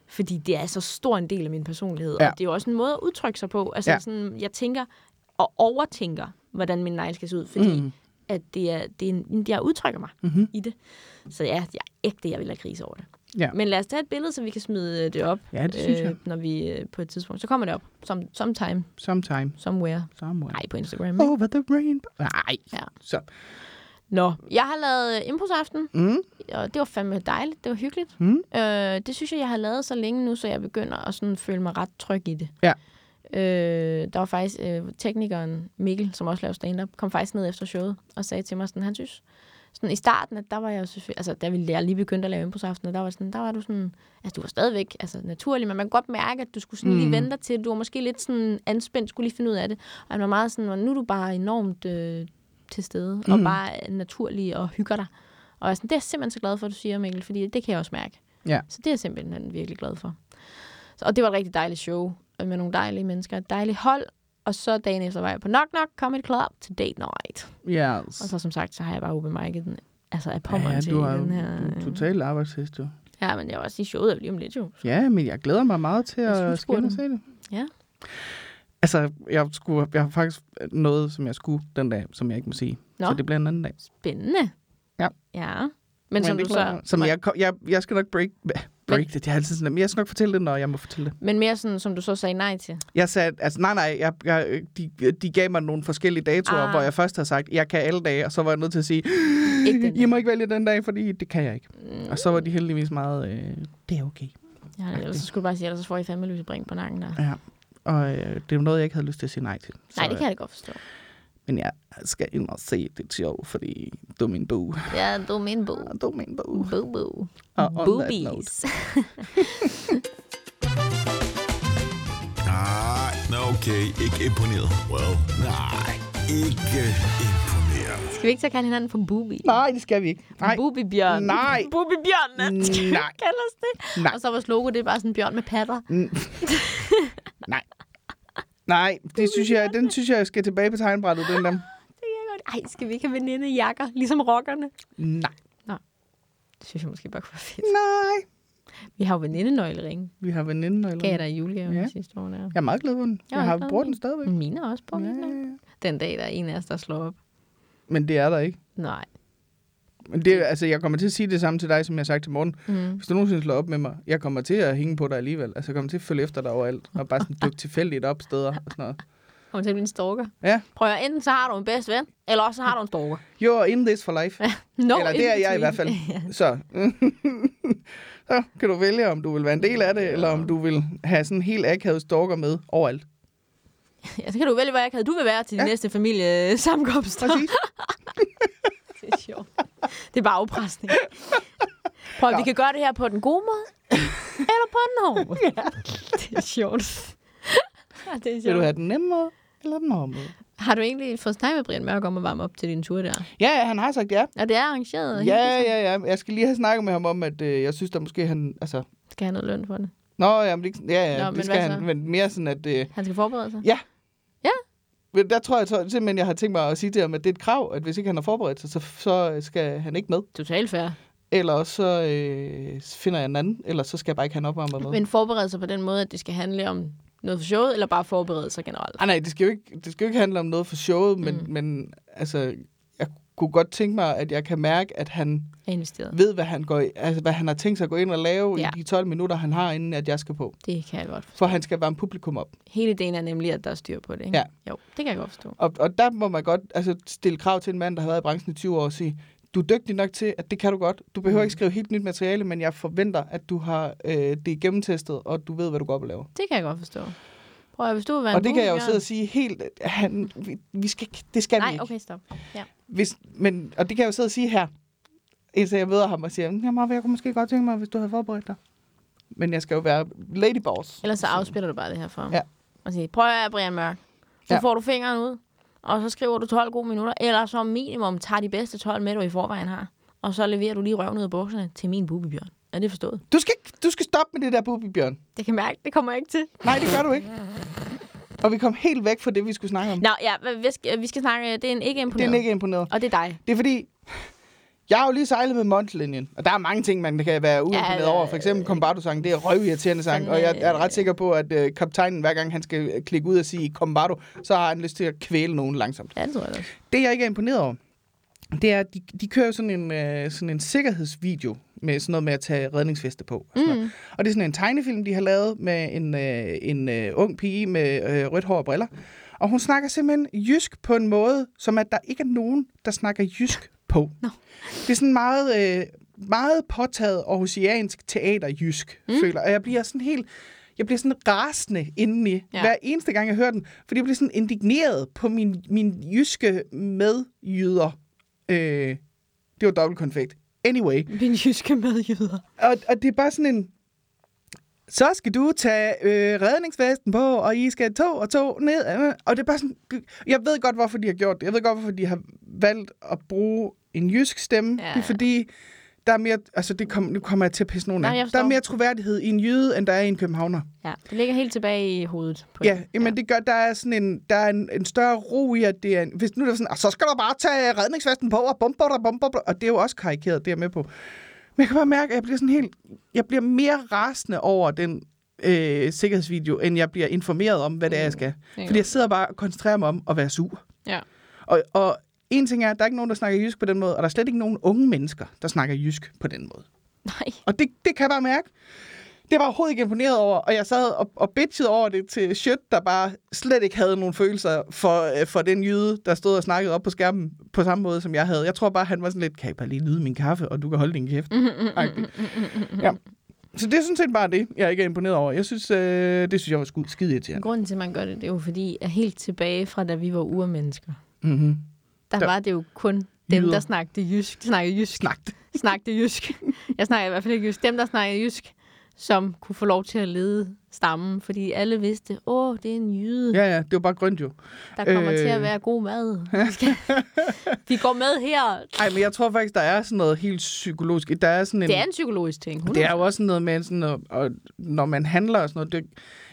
B: Fordi det er så stor en del af min personlighed,
A: Ja.
B: og det er jo også en måde at udtrykke sig på. Altså
A: Ja.
B: sådan, jeg tænker og overtænker, hvordan min negl skal se ud, fordi mm. at det er, det er en, jeg udtrykker mig
A: Mhm.
B: mm-hmm. i det. Så ja, jeg er ægte, jeg vil have krise over det.
A: Ja.
B: Men lad os tage et billede, så vi kan smide øh, det op,
A: Ja, det synes jeg.
B: når vi øh, på et tidspunkt. Så kommer det op, som, sometime,
A: Sometime.
B: somewhere.
A: Somewhere.
B: Nej, på Instagram. ikke?
A: Over the rainbow. Nej.
B: Ja.
A: Så.
B: Nå, jeg har lavet øh, improsaften,
A: Mm.
B: og det var fandme dejligt. Det var hyggeligt.
A: Mm.
B: Øh, det synes jeg, jeg har lavet så længe nu, så jeg begynder at sådan føle mig ret tryg i det.
A: Ja.
B: Øh, der var faktisk øh, teknikeren Mikkel, som også laver stand-up, kom faktisk ned efter showet og sagde til mig, sådan, han synes, sådan, i starten, at der var jeg jo selvfølgelig, altså da vi lærer lige begyndte at lave improsaften, der var, sådan, der var du sådan, altså du var stadigvæk altså, naturlig, men man kan godt mærke, at du skulle sådan mm. lige
A: Mm.
B: vente dig til, du var måske lidt sådan anspændt, skulle lige finde ud af det, og han var meget sådan, "Og nu er du bare enormt øh, til stede, mm. og
A: Mm.
B: bare naturlig og hygger dig. Og jeg er sådan, det er jeg simpelthen så glad for, at du siger, Mikkel, fordi det kan jeg også mærke.
A: Ja.
B: Så det er jeg simpelthen virkelig glad for. Så, og det var et rigtig dejligt show øh, med nogle dejlige mennesker, et dejligt hold. Og så dagen efter var jeg på Knock Knock Comedy Club til date night.
A: Yes.
B: Og så som sagt, så har jeg bare open mic'et den, altså af pommeren
A: ja,
B: til
A: du har jo
B: den her.
A: du er
B: øh,
A: total arbejdshest, jo.
B: Ja, men jeg var også i showet lige om lidt jo.
A: Ja, men jeg glæder mig meget til
B: Jeg synes, du
A: at
B: spurgte
A: skænde og
B: den.
A: se det.
B: Ja.
A: Altså, jeg, skulle, jeg har faktisk noget, som jeg skulle den dag, som jeg ikke må sige.
B: Nå.
A: Så det bliver en anden dag.
B: Spændende.
A: Ja.
B: Ja. Men, men som
A: det
B: du
A: glæder
B: så...
A: mig. Som jeg, kom- jeg, jeg skal nok break, break
B: Men-
A: det. Jeg, er altid sådan, "Jamen, jeg skal nok fortælle det, når jeg må fortælle det.
B: Men mere sådan, som du så sagde nej til.
A: Jeg sagde, altså nej, nej, jeg, jeg, de, de gav mig nogle forskellige datoer,
B: Ah.
A: ah. hvor jeg først har sagt, jeg kan alle dage, og så var jeg nødt til at sige,
B: Ikke den
A: I
B: dag.
A: må ikke vælge den dag, fordi det kan jeg ikke. Mm. Og så var de heldigvis meget, øh, det er okay.
B: Ja, ellers så skulle du bare sige, ellers så får I fandme lyse bring på nakken der.
A: Ja. Og øh, det er noget, jeg ikke havde lyst til at sige nej til. Så,
B: Nej, det kan jeg da godt forstå.
A: øh, Men jeg skal ind og se det sjov, fordi du er min boo.
B: Ja, du er min bog.
A: Du er min boo.
B: Boo-boo.
A: Og on that
B: Boobies.
C: Nej, nå okay, ikke imponeret. Well, nej, ikke øh, imponeret.
B: Skal vi ikke så kalde hinanden for boobie?
A: Nej, det skal vi ikke. Nej,
B: Boobie-bjørn.
A: Nej.
B: Boobie-bjørn.
A: Nej.
B: Kalder os det.
A: Nej.
B: Og så vores logo, det er bare sådan en bjørn med patter.
A: Mm. nej. Nej, det synes jeg, den synes jeg skal tilbage på tegnbrættet, den der.
B: Det kan jeg godt. Ej, skal vi ikke have venindejakker, ligesom rockerne?
A: Nej.
B: Det synes jeg måske bare kunne være fedt.
A: Nej.
B: Vi har jo venindenøglering.
A: Vi har veninden eller
B: Gav jeg dig i julegave
A: Ja.
B: ja. sidste år. Der.
A: Jeg er meget glad for den.
B: Jeg
A: Jeg,
B: er
A: jeg
B: også
A: har
B: glad for
A: brugt
B: den.
A: den stadigvæk.
B: Mine er også på min
A: Ja,
B: ja.
A: ja, ja.
B: Den dag, der er en af os, der slår op.
A: Men det er der ikke.
B: Nej.
A: Men det, er- altså, jeg kommer til at sige det samme til dig, som jeg har sagt til morgen.
B: Mm.
A: Hvis du nogensinde slår op med mig, jeg kommer til at hænge på dig alligevel. Altså, jeg kommer til at følge efter dig overalt, og bare sådan dukke tilfældigt op steder og sådan noget.
B: Kommer til at blive en stalker.
A: Ja.
B: Prøv at høre, enten så har du en bedst ven, eller også så har du en stalker.
A: You're in this for life.
B: No
A: Eller det
B: in
A: er jeg i
B: between.
A: hvert fald. Så. så kan du vælge, om du vil være en del af det, eller om du vil have sådan en helt akavet stalker med overalt.
B: Ja, så kan du vælge, hvor jeg kan. Du vil være til din ja.
A: Ja.
B: næste familiesammenkomst.
A: Præcis.
B: Det er sjovt. Det er bare afpresning. Prøv, at vi kan gøre det her på den gode måde, eller på den hårde måde. Ja. Det er sjovt. Ja, det er
A: Vil du
B: sjovt.
A: have den nemmere eller den hårde måde?
B: Har du egentlig fået snakket med Brian Mørk om at varme op til din tur der?
A: Ja, ja, han har sagt ja.
B: Og det er arrangeret? og hyggeligt,
A: Ja,
B: så
A: ja, ja. Jeg skal lige have snakket med ham om, at øh, jeg synes, der måske han... Altså,
B: Skal han have noget løn for det?
A: nå, ja, men det, ja, ja,
B: Nå,
A: Nå,
B: men
A: det skal
B: hvad så?
A: han. Men mere sådan, at... Øh,
B: Han skal forberede sig?
A: ja.
B: Ja.
A: Men der tror jeg så, simpelthen, jeg har tænkt mig at sige til ham, at det er et krav, at hvis ikke han har forberedt sig, så, så øh, skal han ikke med.
B: Totalt fair.
A: Eller også så øh, finder jeg en anden, eller så skal jeg bare ikke have han opvarmet med.
B: Men forberede sig på den måde, at det skal handle om noget for showet, eller bare forberede sig generelt?
A: Ah, nej, det skal, jo ikke, det skal jo ikke handle om noget for showet, men,
B: Mm.
A: mm. men altså, jeg kunne godt tænke mig, at jeg kan mærke, at han
B: Er investeret.
A: ved, hvad han, går, i- altså, hvad han har tænkt sig at gå ind og lave
B: Ja.
A: ja. i de 12 minutter, han har, inden at jeg skal på.
B: Det kan jeg godt forstå.
A: For han skal varme publikum op.
B: Hele ideen er nemlig, at der er styr på det, ikke?
A: Ja.
B: Jo, det kan jeg godt forstå.
A: Og, og der må man godt altså, stille krav til en mand, der har været i branchen i 20 år, og sige, du er dygtig nok til, at det kan du godt. Du
B: Mm.
A: behøver ikke skrive helt nyt materiale, men jeg forventer, at du har øh, det gennemtestet, og du ved, hvad du går op og laver.
B: Det kan jeg godt forstå. Prøv at hvis du vil være en
A: og det kan jeg jo
B: boligbjørn-
A: sidde og sige helt... øh, Han, vi, vi skal, ikke- det skal vi
B: Nej,
A: ikke.
B: okay, stop. Ja.
A: hvis, men, og det kan jeg jo sidde og sige her, indtil jeg møder ham og siger, "Mm, jamen, jeg kunne måske godt tænke mig, hvis du havde forberedt dig. Men jeg skal jo være ladyboss.
B: Ellers så afspiller du bare det her for ham.
A: Ja.
B: Og siger, prøv at høre, Brian Mørk. Så ja.
A: Ja.
B: får du fingeren ud, og så skriver du 12 gode minutter, eller som minimum tager de bedste 12 med, du i forvejen har. Og så leverer du lige røven ud af bukserne til min bubibjørn. Er det forstået?
A: Du skal, ikke- du skal stoppe med det der Bubi Bjørn.
B: Det kan mærke, det kommer jeg ikke til.
A: Nej, det gør du ikke. Og vi kom helt væk fra det, vi skulle snakke om.
B: Nå, ja, hvad- vi skal, vi skal snakke, det er en ikke
A: det
B: imponeret.
A: er ikke imponeret.
B: Og det er dig.
A: Det er fordi, jeg har jo lige sejlet med Montlinjen, og der er mange ting, man kan være uimponeret
B: ja,
A: over. For eksempel Combardo-sangen, det er røvirriterende sang,
B: Fandme,
A: og jeg er
B: øh,
A: ret sikker på, at øh, kaptajnen, hver gang han skal øh, klikke ud og sige Combardo, så har han lyst til at kvæle nogen langsomt.
B: Ja, det tror jeg da.
A: Det, jeg ikke er imponeret over, det er, at de, de kører jo sådan en, øh, sådan en sikkerhedsvideo med sådan noget med at tage redningsveste på. Og, sådan noget. og det er sådan en tegnefilm, de har lavet med en, øh, en øh, ung pige med øh, rødt hår og briller. Og hun snakker simpelthen jysk på en måde, som at der ikke er nogen, der snakker jysk på.
B: Nå.
A: Det er sådan meget, øh, meget påtaget aarhusiansk teaterjysk, mm. føler jeg. Og jeg bliver sådan helt... Jeg bliver sådan rasende indeni, ja.
B: Ja.
A: hver eneste gang, jeg hører den. Fordi jeg bliver sådan indigneret på min, min jyske medjyder. Øh, det var dobbeltkonfekt. Anyway.
B: Min jyske medjyder.
A: Og, og det er bare sådan en... Så skal du tage øh, redningsvesten på, og I skal to og to ned. øh, Og det er bare sådan... Jeg ved godt, hvorfor de har gjort det. Jeg ved godt, hvorfor de har valgt at bruge en jysk stemme. Ja.
B: Ja,
A: Det er
B: ja.
A: fordi, der er mere... Altså, det kom, nu kommer jeg til at pisse nogen
B: Nej,
A: af.
B: jeg
A: Der er
B: forstår.
A: mere troværdighed i en jyde, end der er i en københavner.
B: Ja, det ligger helt tilbage i hovedet. På
A: Ja,
B: en.
A: jamen det gør, der er sådan en, der er en, en større ro i, at det er en, hvis nu er det sådan, "Ah, så skal du bare tage redningsvesten på og bomber dig, bomber dig," og det er jo også karikeret, det er jeg med på. Men jeg kan bare mærke, at jeg bliver sådan helt, jeg bliver mere rasende over den øh, sikkerhedsvideo, end jeg bliver informeret om, hvad Mm. det er, jeg skal.
B: kan
A: Fordi jeg sidder bare og koncentrerer mig om at være sur.
B: Ja.
A: Og, og en ting er, at der er ikke nogen, der snakker jysk på den måde, og der er slet ikke nogen unge mennesker, der snakker jysk på den måde.
B: Nej.
A: Og det, det kan jeg bare mærke. Det var jeg overhovedet ikke imponeret over, og jeg sad og, og bitchede over det til Shit, der bare slet ikke havde nogen følelser for, øh, for den jyde, der stod og snakkede op på skærmen på samme måde, som jeg havde. Jeg tror bare, han var sådan lidt, kan jeg bare lige nyde min kaffe, og du kan holde din kæft. Agtig. ja. Så det er sådan set bare det, jeg ikke er imponeret over. Jeg synes, øh, det synes jeg var sku- skide irriterende.
B: Grunden til, at man gør det, det er jo fordi, at helt tilbage fra da vi var urmennesker,
A: Mm-hmm.
B: der,
A: Der-
B: der var det jo kun dem,
A: Jyder.
B: der snakkede jysk. Snakkede jysk.
A: Snakte.
B: snakkede jysk. Jeg snakker i hvert fald ikke jysk. Dem, der snakkede jysk, som kunne få lov til at lede stammen, fordi alle vidste, åh, det er en jyde, ja.
A: Ja, ja, det var bare grønt jo.
B: der kommer øh. til
A: øh.
B: at være god mad. De, skal... de går med her.
A: Ej, men jeg tror faktisk, der er sådan noget helt psykologisk. Der er sådan en...
B: Det er en psykologisk ting.
A: Det er jo også noget med, sådan noget, og når man handler og sådan noget. Det,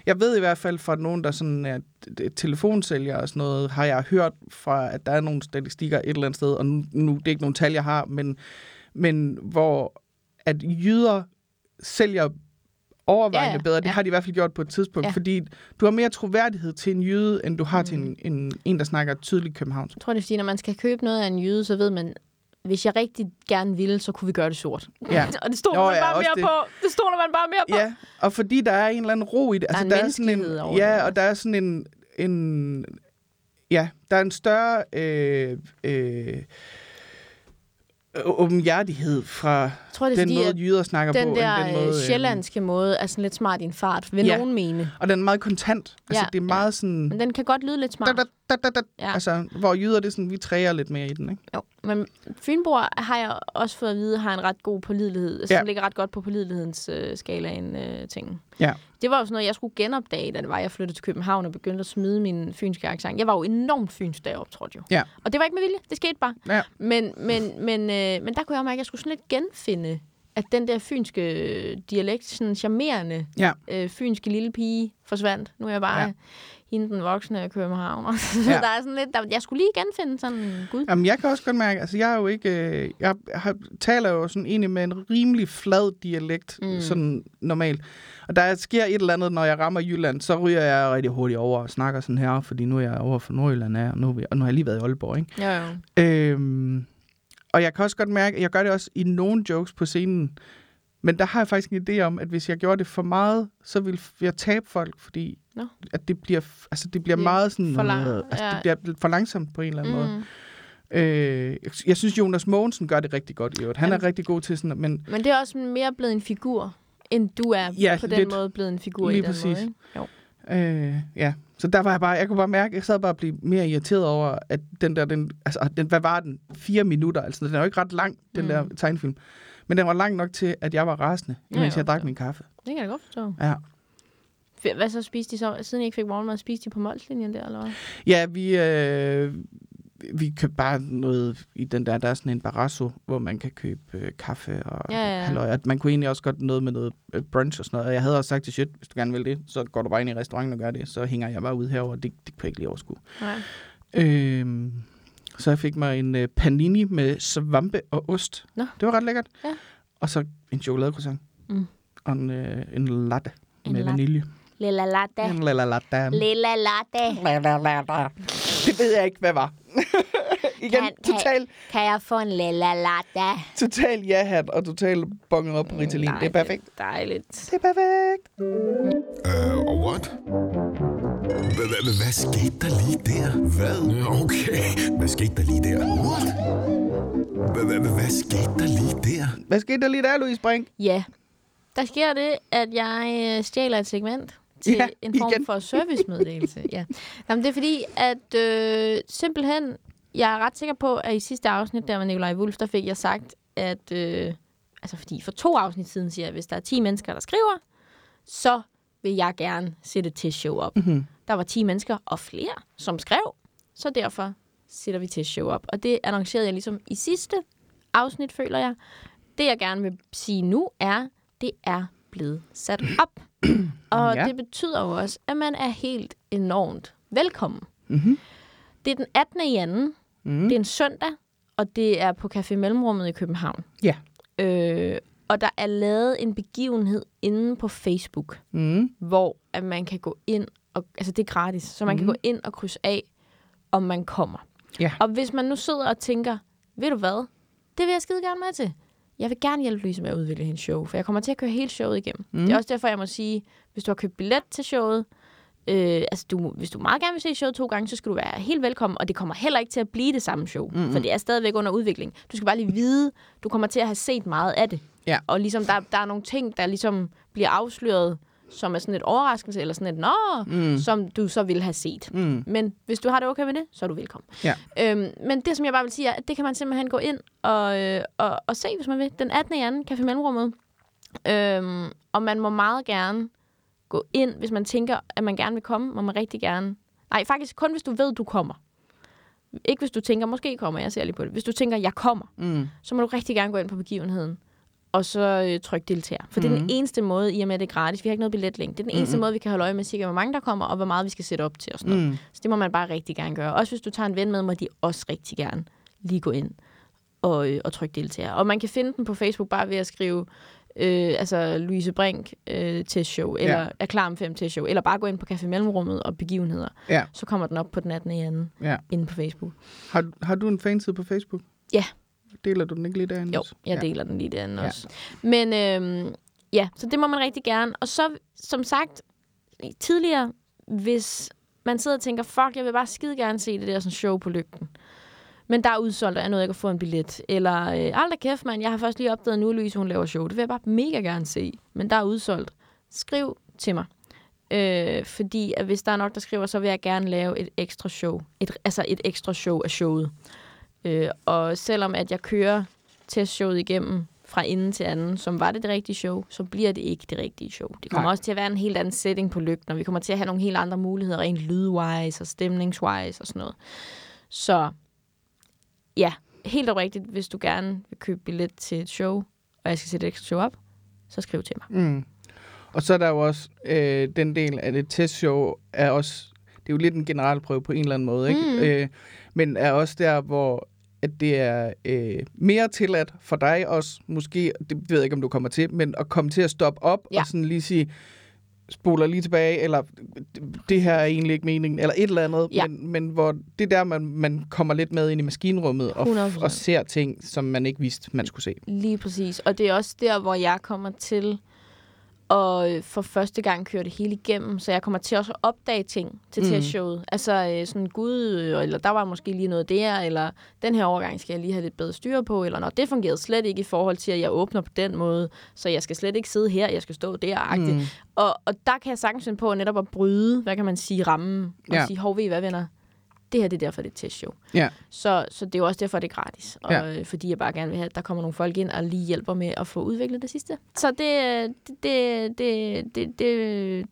A: jeg ved i hvert fald fra nogen, der sådan er t- telefonsælger og sådan noget, har jeg hørt fra, at der er nogle statistikker et eller andet sted, og nu, nu det er ikke nogle tal, jeg har, men, men hvor at jyder sælger overvejende
B: Ja,
A: ja,
B: ja,
A: ja, bedre. Det
B: ja.
A: har de i hvert fald gjort på et tidspunkt,
B: Ja.
A: ja. fordi du har mere troværdighed til en jyde, end du har mm. til en, en, en, der snakker tydeligt københavnsk.
B: Jeg tror, det er fordi, når man skal købe noget af en jyde, så ved man, hvis jeg rigtig gerne ville, så kunne vi gøre det sort.
A: Ja.
B: Og det stoler
A: Nå,
B: man
A: ja,
B: bare
A: også
B: mere
A: det.
B: på. Det stoler man bare mere på.
A: Ja, og fordi der er en eller anden ro i det. Altså,
B: er en menneskelighed over
A: ja,
B: det
A: og der er sådan en, en ja, der er en større øh, øh, åbenhjertighed fra
B: Jeg tror, det er
A: den
B: fordi,
A: måde,
B: at
A: jyder snakker på,
B: den der
A: end den
B: øh,
A: måde... øh,
B: sjællandske måde er sådan lidt smart i en fart, vil
A: Ja.
B: nogen mene.
A: Og den er meget kontant. Altså,
B: Ja,
A: det er
B: ja.
A: meget sådan...
B: Men den kan godt lyde lidt smart.
A: Da, da, da, da, da.
B: Ja.
A: Ja. Altså, hvor jyder det er sådan, vi træer lidt mere i den, ikke?
B: Jo, men Fynboer har jeg også fået at vide, har en ret god pålidelighed, ja.
A: Ja.
B: som ligger ret godt på pålidelighedens øh, skala end øh, ting.
A: Ja.
B: Det var jo sådan noget, jeg skulle genopdage, da det var, jeg flyttede til København og begyndte at smide min fynske accent. Jeg var jo enormt fynsk, da jeg optrådte jo.
A: Ja.
B: Og det var ikke med vilje, det skete bare.
A: Ja.
B: Men, men, men, øh, men der kunne jeg mærke, at jeg skulle sådan lidt genfinde, at den der fynske øh, dialekt, sådan en charmerende
A: Ja.
B: øh, fynske lille pige, forsvandt. Nu er jeg bare ja.
A: Ja.
B: hende den voksne københavner. Så
A: Ja.
B: der er sådan lidt, der, jeg skulle lige genfinde sådan, gud,
A: Jamen, jeg kan også godt mærke, altså jeg er jo ikke, øh, jeg har, taler jo sådan egentlig med en rimelig flad dialekt, mm. sådan normalt. Og der sker et eller andet, når jeg rammer Jylland, så ryger jeg rigtig hurtigt over og snakker sådan her, fordi nu er jeg over for Nordjylland, af, og nu, er vi- og nu har jeg lige været i Aalborg, ikke?
B: Jo, jo.
A: Øhm, og jeg kan også godt mærke, at jeg gør det også i nogle jokes på scenen, men der har jeg faktisk en idé om, at hvis jeg gjorde det for meget, så ville jeg tabe folk, fordi
B: Nå.
A: at det bliver, altså det bliver
B: Det er
A: meget sådan,
B: for lang-
A: øh, altså
B: ja.
A: det bliver for langsomt på en eller anden måde.
B: Mm.
A: Øh, jeg- jeg synes, Jonas Mogensen gør det rigtig godt i øvrigt. Han er rigtig god til sådan, men
B: Men det er også mere blevet en figur, end du er
A: Ja,
B: på den
A: lidt.
B: måde blevet en figur i
A: Lige
B: den
A: præcis.
B: måde. Ikke? Jo.
A: øh, ja. Så der var jeg bare, jeg kunne bare mærke, jeg sad bare og blev mere irriteret over, at den der, den, altså og den, hvad var den? Fire minutter, altså den er jo ikke ret lang, den
B: Mm.
A: der tegnefilm. Men den var lang nok til, at jeg var rasende,
B: Ja,
A: mens
B: jo,
A: jeg drak
B: ja.
A: min kaffe.
B: Det kan jeg da godt forstå.
A: Ja,
B: F- Hvad så spiste de så? Siden I ikke fik morgenmad, spiste de på målslinjen der, eller hvad?
A: ja vi, øh, vi købte bare noget i den der, der er sådan en barasso, hvor man kan købe øh, kaffe og
B: Ja, ja, ja.
A: halløj. Og Man kunne egentlig også godt noget med noget øh, brunch og sådan noget. Og jeg havde også sagt til shit, hvis du gerne vil det, så går du bare ind i restauranten og gør det. Så hænger jeg bare ud herover. Det, det kunne jeg ikke lige overskue.
B: Nej.
A: Øhm, så jeg fik mig en øh, panini med svampe og ost.
B: Nå.
A: Det var ret lækkert.
B: Ja.
A: Og så en chokoladecroissant.
B: Mm.
A: Og en, øh, en latte
B: En
A: med
B: latte.
A: vanilje.
B: Lilla latte.
A: En lala latte.
B: Lilla latte.
A: Det ved jeg ikke, hvad var. Igen,
B: Kan- kan-
A: total,
B: Kan jeg få en lilla latte?
A: total ja-hat og total bonget op
B: Øh,
A: på Ritalin. det er perfekt.
B: Dejligt.
A: Det er perfekt.
C: Øh, og what? Hva- hva- hva- Hvad skete der lige der? Hvad? Øh, Okay, hvad skete der lige der? What? Hva- hva- hva- Hvad skete der lige der?
A: Hvad skete der lige der, Louise Brink?
B: Ja. Der sker det, at jeg øh, stjæler et segment til
A: Ja,
B: ja, en form
A: igen.
B: igen. for servicemeddelelse. ja. Jamen, det er fordi, at øh, simpelthen, jeg er ret sikker på, at i sidste afsnit der med Nikolaj Wulff, der fik jeg sagt, at... Øh, altså, fordi for to afsnit siden siger jeg, at hvis der er 10 mennesker, der skriver, så vil jeg gerne sætte til show op.
A: Mhm.
B: Mm-hmm. Der var 10 mennesker og flere, som skrev, så derfor sætter vi til show op. Og det annoncerede jeg ligesom i sidste afsnit, føler jeg. Det, jeg gerne vil sige nu, er, det er blevet sat op. og
A: Ja.
B: ja. det betyder jo også, at man er helt enormt velkommen. Mm-hmm. Det er den 18. i anden. Mm. Det er en søndag, og det er på Café Mellemrummet i København.
A: Ja.
B: Øh, og der er lavet en begivenhed inde på Facebook,
A: Mm.
B: hvor at man kan gå ind, og, altså det er gratis, så man mm. kan gå ind og krydse af, om man kommer.
A: Ja.
B: Og hvis man nu sidder og tænker, ved du hvad, det vil jeg skide gerne med til. Jeg vil gerne hjælpe Louise med at udvikle hendes show, for jeg kommer til at køre hele showet igennem. Mm. Det er også derfor, jeg må sige, hvis du har købt billet til showet, øh, altså du, hvis du meget gerne vil se showet to gange, så skal du være helt velkommen, og det kommer heller ikke til at blive det samme show, mm. for det er stadigvæk under udvikling. Du skal bare lige vide, du kommer til at have set meget af det.
A: Ja.
B: Og ligesom der, der er nogle ting, der ligesom bliver afsløret, som er sådan et overraskelse, eller sådan et nå, mm. som du så ville have set. Mm. Men hvis du har det okay med det, så er du velkommen.
A: Ja.
B: Øhm, men det, som jeg bare vil sige, er, at det kan man simpelthen gå ind og, øh, og, og se, hvis man vil. Den 18. i anden, Café Mellemrummet. Øhm, og man må meget gerne gå ind, hvis man tænker, at man gerne vil komme, må man rigtig gerne... Nej, faktisk kun, hvis du ved, du kommer. Ikke hvis du tænker, måske kommer jeg, jeg ser lige på det. Hvis du tænker, jeg kommer,
A: Mm.
B: så må du rigtig gerne gå ind på begivenheden og så øh, tryk deltager. For mm. det er den eneste måde, i og med at det er gratis, vi har ikke noget billetlink, det er den eneste mm. måde, vi kan holde øje med cirka, hvor mange der kommer, og hvor meget vi skal sætte op til og sådan noget. Mm. Så det må man bare rigtig gerne gøre. Også hvis du tager en ven med, må de også rigtig gerne lige gå ind og, øh, og tryk deltager. Og man kan finde den på Facebook bare ved at skrive øh, altså Louise Brink øh, til show, eller
A: Ja.
B: ja. er klar om fem til show, eller bare gå ind på Café Mellemrummet og begivenheder.
A: Ja.
B: Så kommer den op på den 18. i anden
A: Ja.
B: inde på Facebook.
A: Har, har du en fanside på Facebook?
B: Ja.
A: Deler du den ikke lige derinde?
B: Jo,
A: også?
B: jeg
A: ja.
B: deler den lige derinde
A: Ja.
B: også. Men øhm, ja, så det må man rigtig gerne. Og så, som sagt, tidligere, hvis man sidder og tænker, fuck, jeg vil bare skide gerne se det der sådan show på lygten. Men der er udsolgt, og jeg nåede ikke at få en billet. Eller, øh, alder kæft, mand, jeg har først lige opdaget nu, Louise, hun laver show. Det vil jeg bare mega gerne se. Men der er udsolgt. Skriv til mig. Øh, fordi at hvis der er nok, der skriver, så vil jeg gerne lave et ekstra show. Et, altså et ekstra show af showet. Øh, og selvom at jeg kører testshowet igennem fra inden til anden, som var det det rigtige show, så bliver det ikke det rigtige show. Det kommer
A: Nej.
B: Nej. også til at være en helt anden setting på lygten, og vi kommer til at have nogle helt andre muligheder, rent lydwise og stemningswise og sådan noget. Så ja, helt oprigtigt, hvis du gerne vil købe billet til et show, og jeg skal sætte et ekstra show op, så skriv til mig.
A: Mm. Og så er der jo også øh, den del af det testshow, er også, det er jo lidt en generalprøve på en eller anden måde, ikke?
B: Mm.
A: Øh, men er også der, hvor at det er øh, mere tilladt for dig også, måske, det ved jeg ikke, om du kommer til, men at komme til at stoppe op ja.
B: Ja.
A: og sådan lige sige, spoler lige tilbage, eller det her er egentlig ikke meningen, eller et eller andet,
B: Ja.
A: men, men hvor det er der, man, man kommer lidt med ind i maskinrummet og,
B: 100%.
A: og ser ting, som man ikke vidste, man skulle se.
B: Lige præcis. Og det er også der, hvor jeg kommer til at øh, for første gang køre det hele igennem, så jeg kommer til også at opdage ting til
A: Mm.
B: mm. testshowet. Altså øh, sådan, gud, øh, eller der var måske lige noget der, eller den her overgang skal jeg lige have lidt bedre styr på, eller når det fungerede slet ikke i forhold til, at jeg åbner på den måde, så jeg skal slet ikke sidde her, jeg skal stå der. Mm. Og, og der kan jeg sagtens finde på netop at bryde, hvad kan man sige, rammen, og
A: Ja.
B: ja. sige, hov, ved I hvad, venner? Det her det er derfor, det er et testshow.
A: Ja.
B: Så, så det er jo også derfor, det er gratis. Og
A: Ja.
B: ja. fordi jeg bare gerne vil have, at der kommer nogle folk ind og lige hjælper med at få udviklet det sidste. Så det, øh, det, det, det, det,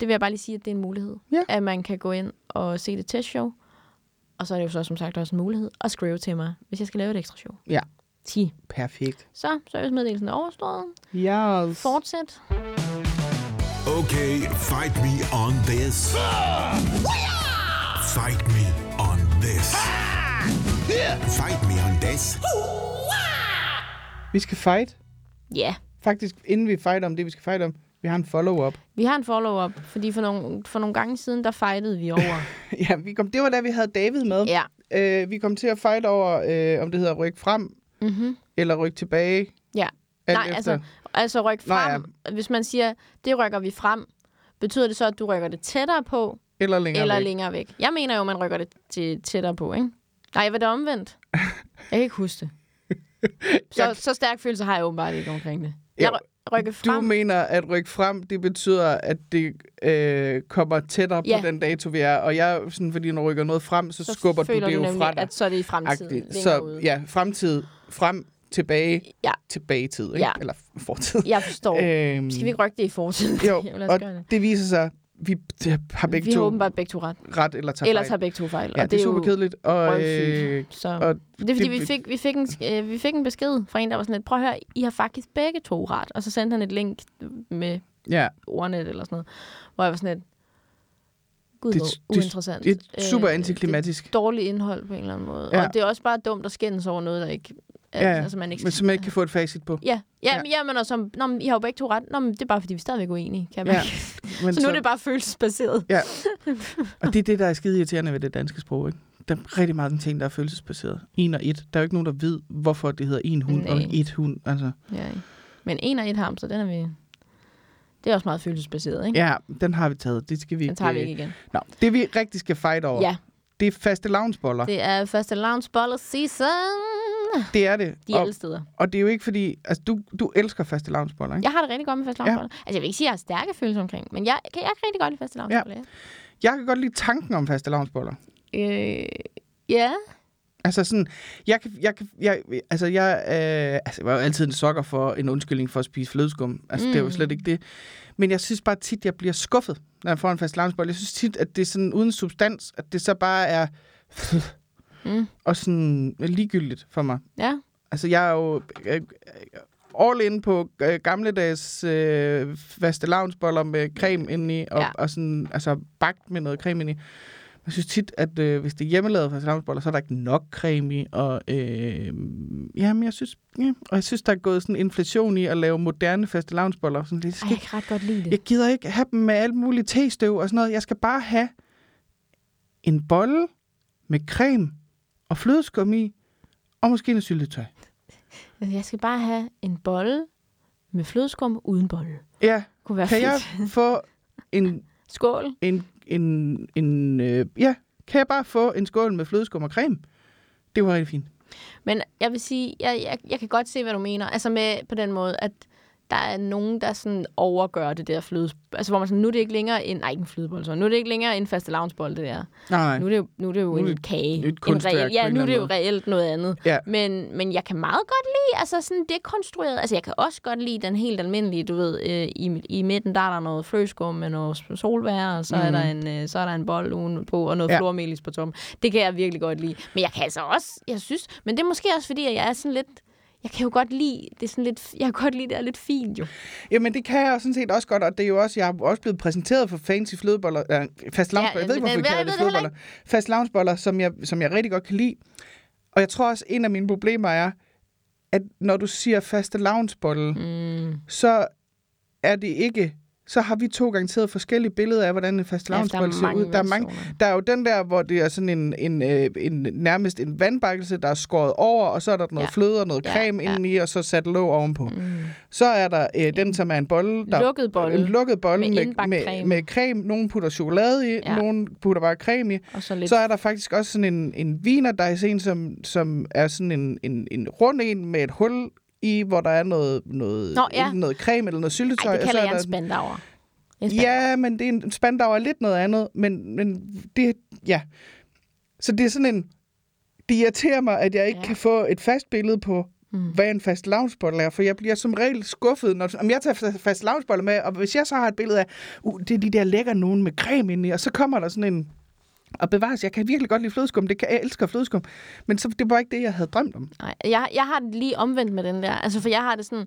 B: det vil jeg bare lige sige, at det er en mulighed.
A: Ja.
B: At man kan gå ind og se det testshow. Og så er det jo så som sagt også en mulighed at skrive til mig, hvis jeg skal lave et ekstra show.
A: Ja.
B: Ti.
A: Perfekt.
B: Så servicemeddelelsen er overstået.
A: Yes.
B: Fortsæt.
C: Okay, fight me on this. Fight me on this. Fight me on this.
A: Vi skal fight.
B: Ja. Yeah.
A: Faktisk, inden vi fighter om det, vi skal fight om, vi har en follow-up.
B: Vi har en follow-up, fordi for nogle, for nogle gange siden, der fightede vi over.
A: ja, vi kom, det var da, vi havde David med.
B: ja.
A: Øh, vi kom til at fight over, øh, om det hedder ryk frem
B: Mm-hmm.
A: eller ryk tilbage.
B: ja.
A: alt
B: Nej,
A: efter.
B: altså, altså ryk
A: Nå, ja.
B: frem. Hvis man siger, det rykker vi frem, betyder det så, at du rykker det tættere på,
A: Eller længere
B: eller
A: væk.
B: længere væk? Jeg mener jo, man rykker det til tættere på, ikke? Nej, var det omvendt? Jeg kan ikke huske det. Så, så stærk følelse har jeg åbenbart ikke omkring det.
A: Jo.
B: Jeg ry- rykker
A: Du
B: frem.
A: mener, at rykke frem, det betyder, at det øh, kommer tættere
B: Ja.
A: på den dato, vi er. Og jeg, sådan, fordi når du rykker noget frem, så, så skubber du det
B: føler
A: jo
B: nemlig,
A: fra dig.
B: At så er det i fremtiden.
A: agtigt.
B: længere
A: Så
B: ude.
A: ja, fremtid, frem, tilbage,
B: Ja.
A: tilbage i tid. Ikke?
B: Ja.
A: Eller fortid.
B: Jeg forstår.
A: Øhm,
B: Skal vi ikke rykke det i fortiden?
A: Jo,
B: Jo, lad os
A: og
B: gøre det.
A: det viser sig, vi t- har begge
B: vi
A: to
B: har åbenbart begge to ret.
A: ret eller tager
B: Ellers
A: fejl.
B: har begge to fejl.
A: Ja,
B: og
A: det er super
B: jo
A: kedeligt. Og, øh,
B: røvsygt. Så.
A: og
B: det er fordi,
A: det-
B: vi fik, vi, fik en, øh, vi fik en besked fra en, der var sådan lidt, prøv at høre, I har faktisk begge to ret. Og så sendte han et link med
A: ja,
B: ordnet eller sådan noget, hvor jeg var sådan lidt, gud,
A: Det-
B: det,
A: det-
B: hvor uinteressant.
A: det er super
B: Øh,
A: antiklimatisk.
B: Det er dårligt indhold på en eller anden måde.
A: Ja.
B: Ja. Og det er også bare dumt at skændes over noget, der ikke...
A: Ja,
B: Ja, altså, man ikke
A: men som man ikke kan få et facit på.
B: Ja, ja,
A: Ja.
B: ja. men og som, nå, men I har jo begge to ret. Nå, men det er bare, fordi vi er stadigvæk uenige, kan man
A: Ja,
B: ja, så,
A: Men
B: så nu er det bare følelsesbaseret.
A: Ja. Og det er det, der er skide irriterende ved det danske sprog, ikke? Der er rigtig mange ting, der er følelsesbaseret. En og et. Der er jo ikke nogen, der ved, hvorfor det hedder en hund og
B: Nej.
A: et hund. Altså,
B: Ja. Men en og et hamster, den er vi... Det er også meget følelsesbaseret, ikke?
A: ja, den har vi taget. Det skal vi
B: Den tager vi
A: øh,
B: ikke igen.
A: Nå, det vi rigtig skal fight over,
B: Ja,
A: det er faste lavnsboller. Det,
B: det er første lounge boller season.
A: det er det.
B: De er
A: og,
B: alle steder.
A: og det er jo ikke fordi... Altså, du, du elsker faste lavnsboller, ikke?
B: Jeg har det rigtig godt med faste
A: Mm. Ja.
B: lavnsboller. Altså, jeg vil ikke sige, at jeg har stærke følelser omkring, men jeg, kan, jeg kan rigtig godt lide faste lavnsboller. Ja.
A: Jeg kan godt lide tanken om faste lavnsboller.
B: Øh, ja.
A: Altså sådan, jeg kan, jeg kan, jeg, altså jeg, øh, altså jeg var jo altid en sokker for en undskyldning for at spise flødeskum. Altså mm. det er jo
B: Mm.
A: slet ikke det. Men jeg synes bare tit, jeg bliver skuffet, når jeg får en fast lavnsbolle. Jeg synes tit, at det er sådan uden substans, at det så bare er
B: Mm.
A: og sådan ligegyldigt for mig.
B: Ja.
A: Altså jeg er jo øh, all in på øh, gamledags øh, faste lavnsboller med creme indeni, og, ja.
B: Ja.
A: og sådan, altså bagt med noget creme indeni. Jeg synes tit, at øh, hvis det er hjemmelavet fastelavnsboller, så er der ikke nok creme i. Og, øh, jamen, jeg synes, ja. og jeg synes, der er gået sådan inflation i at lave moderne fastelavnsboller. Sådan, det
B: Ej,
A: skal,
B: jeg kan ret godt lide det.
A: jeg gider ikke have dem med alt muligt testøv og sådan noget. Jeg skal bare have en bolle med creme og flødeskum i, og måske en syltetøj.
B: Jeg skal bare have en bolle med flødeskum uden bolle.
A: Ja,
B: Kunne være
A: kan jeg
B: fedt.
A: få en,
B: Skål.
A: en, en, en øh, ja, kan jeg bare få en skål med flødeskum og creme? Det var rigtig fint.
B: Men jeg vil sige, jeg, jeg, jeg kan godt se, hvad du mener. Altså med på den måde, at der er nogen, der sådan overgør det der fløde... Altså hvor man sådan, nu er det ikke længere en... Nej, ikke en flødebolle, så. Nu er det ikke længere en faste lavnsbold, det der.
A: Nej.
B: Nu er det jo, nu er det jo
A: Nu er
B: en
A: det et-
B: kage.
A: det er et
B: en
A: kunstværk
B: reel,
A: på
B: ja,
A: en
B: nu er
A: eller
B: det jo
A: anden
B: reelt noget andet.
A: Ja.
B: Men, men jeg kan meget godt lide, altså sådan dekonstrueret. Altså jeg kan også godt lide den helt almindelige, du ved, øh, i, i midten der er der noget fløskum med noget s- solbær, og så, mm. er, der en, øh, så er der en bold ugen på, og noget
A: Mhm. Ja.
B: ja. flormelis på tom. Det kan jeg virkelig godt lide. Men jeg kan altså også, jeg synes, men det er måske også fordi, at jeg er sådan lidt, jeg kan jo godt lide, det er sådan lidt, jeg kan godt lide, det er lidt fint jo.
A: Jamen, det kan jeg sådan set også godt, og det er jo også, jeg er også blevet præsenteret for fancy flødeboller, øh, fast lavnsboller, ja, jeg ved ikke,
B: men
A: hvorfor vi
B: det-
A: kalder
B: jeg
A: det
B: ved det heller
A: flødeboller, fast lavnsboller, som jeg, som jeg rigtig godt kan lide. Og jeg tror også, en af mine problemer er, at når du siger faste lavnsbolle, mm. så er det ikke så har vi to garanteret forskellige billeder af, hvordan en fast
B: Ja, der er
A: ser
B: mange
A: ud. Der er, mange,
B: versioner.
A: der er jo den der, hvor det er sådan en, en, øh, en nærmest en vandbakkelse, der er skåret over, og så er der noget ja.
B: Ja.
A: fløde og noget
B: Ja,
A: creme
B: ja.
A: indeni, og så sat låg ovenpå. Mm. Så er der øh, den, som er en bolle, der,
B: Lukket bolle.
A: en lukket bolle
B: Med
A: med, med,
B: indbagt
A: med,
B: creme.
A: med creme. Nogen putter chokolade i, ja.
B: Ja.
A: nogen putter bare creme i.
B: Og så lidt
A: Så er der faktisk også sådan en, en viner, der er en, som, som er sådan en, en, en rund en med et hul i, hvor der er noget, noget,
B: Nå, ja.
A: enten noget creme eller noget syltetøj.
B: Ej, det
A: og så
B: kalder
A: er
B: jeg en
A: der-
B: spandauer. En spandauer.
A: Ja, men det er en spandau er lidt noget andet, men, men det, ja. Så det er sådan en, det irriterer mig, at jeg ikke ja.
B: Ja.
A: kan få et fast billede på, mm. hvad en fast loungebolle er, for jeg bliver som regel skuffet, når om jeg tager fa- fast loungebolle med, og hvis jeg så har et billede af, uh, det er de der lækker nogen med creme inde i, og så kommer der sådan en, og bevares, jeg kan virkelig godt lide flødeskum, det kan, jeg elsker flødeskum, men så, det var ikke det, jeg havde drømt om.
B: Nej, jeg, jeg har det lige omvendt med den der. Altså, for jeg har det sådan...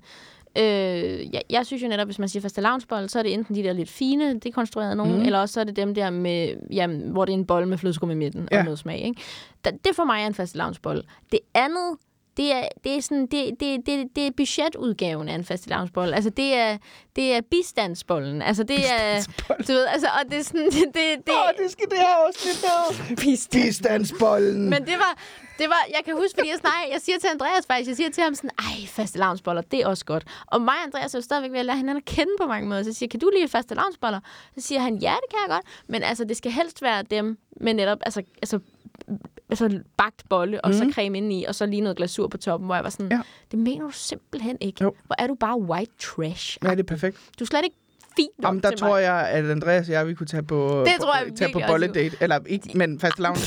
B: Øh, jeg, jeg synes jo netop, hvis man siger faste lavnsbold, så er det enten de der lidt fine, dekonstruerede
A: Mhm.
B: nogen, mm. eller også så er det dem der, med, ja, hvor det er en bold med flødeskum i midten
A: Ja.
B: og noget smag. Ikke? Da, det for mig er en faste lavnsbold. Det andet, det er, det er, sådan, det, det, det, det er budgetudgaven af en faste lavnsbold. Altså, det er, det er bistandsbollen. Altså, det er... Du ved, altså, og det er sådan... Det, det, det,
A: Åh, det skal det her også lidt med.
B: bistand.
A: Bistandsbollen.
B: Men det var, det var, jeg kan huske, fordi jeg, snakker, jeg siger til Andreas faktisk, jeg siger til ham sådan, ej, faste lavnsboller, det er også godt. Og mig og Andreas er jo stadigvæk ved at lære hinanden at kende på mange måder. Så jeg siger, kan du lide faste lavnsboller? Så siger han, ja, det kan jeg godt. Men altså, det skal helst være dem med netop, altså, altså altså, bagt bolle, og mm. så
A: Mhm.
B: creme indeni, og så lige noget glasur på toppen, hvor jeg var sådan,
A: Ja.
B: ja. det mener du simpelthen ikke.
A: Jo.
B: Hvor er du bare white trash.
A: Ja, det er perfekt.
B: Du er slet ikke fint nok
A: Jamen, der
B: til
A: tror
B: mig.
A: jeg, at Andreas og jeg, vi kunne tage på,
B: Det tror jeg
A: på, tage på
B: virkelig også,
A: bolledate. Eller ikke, men fast lavn.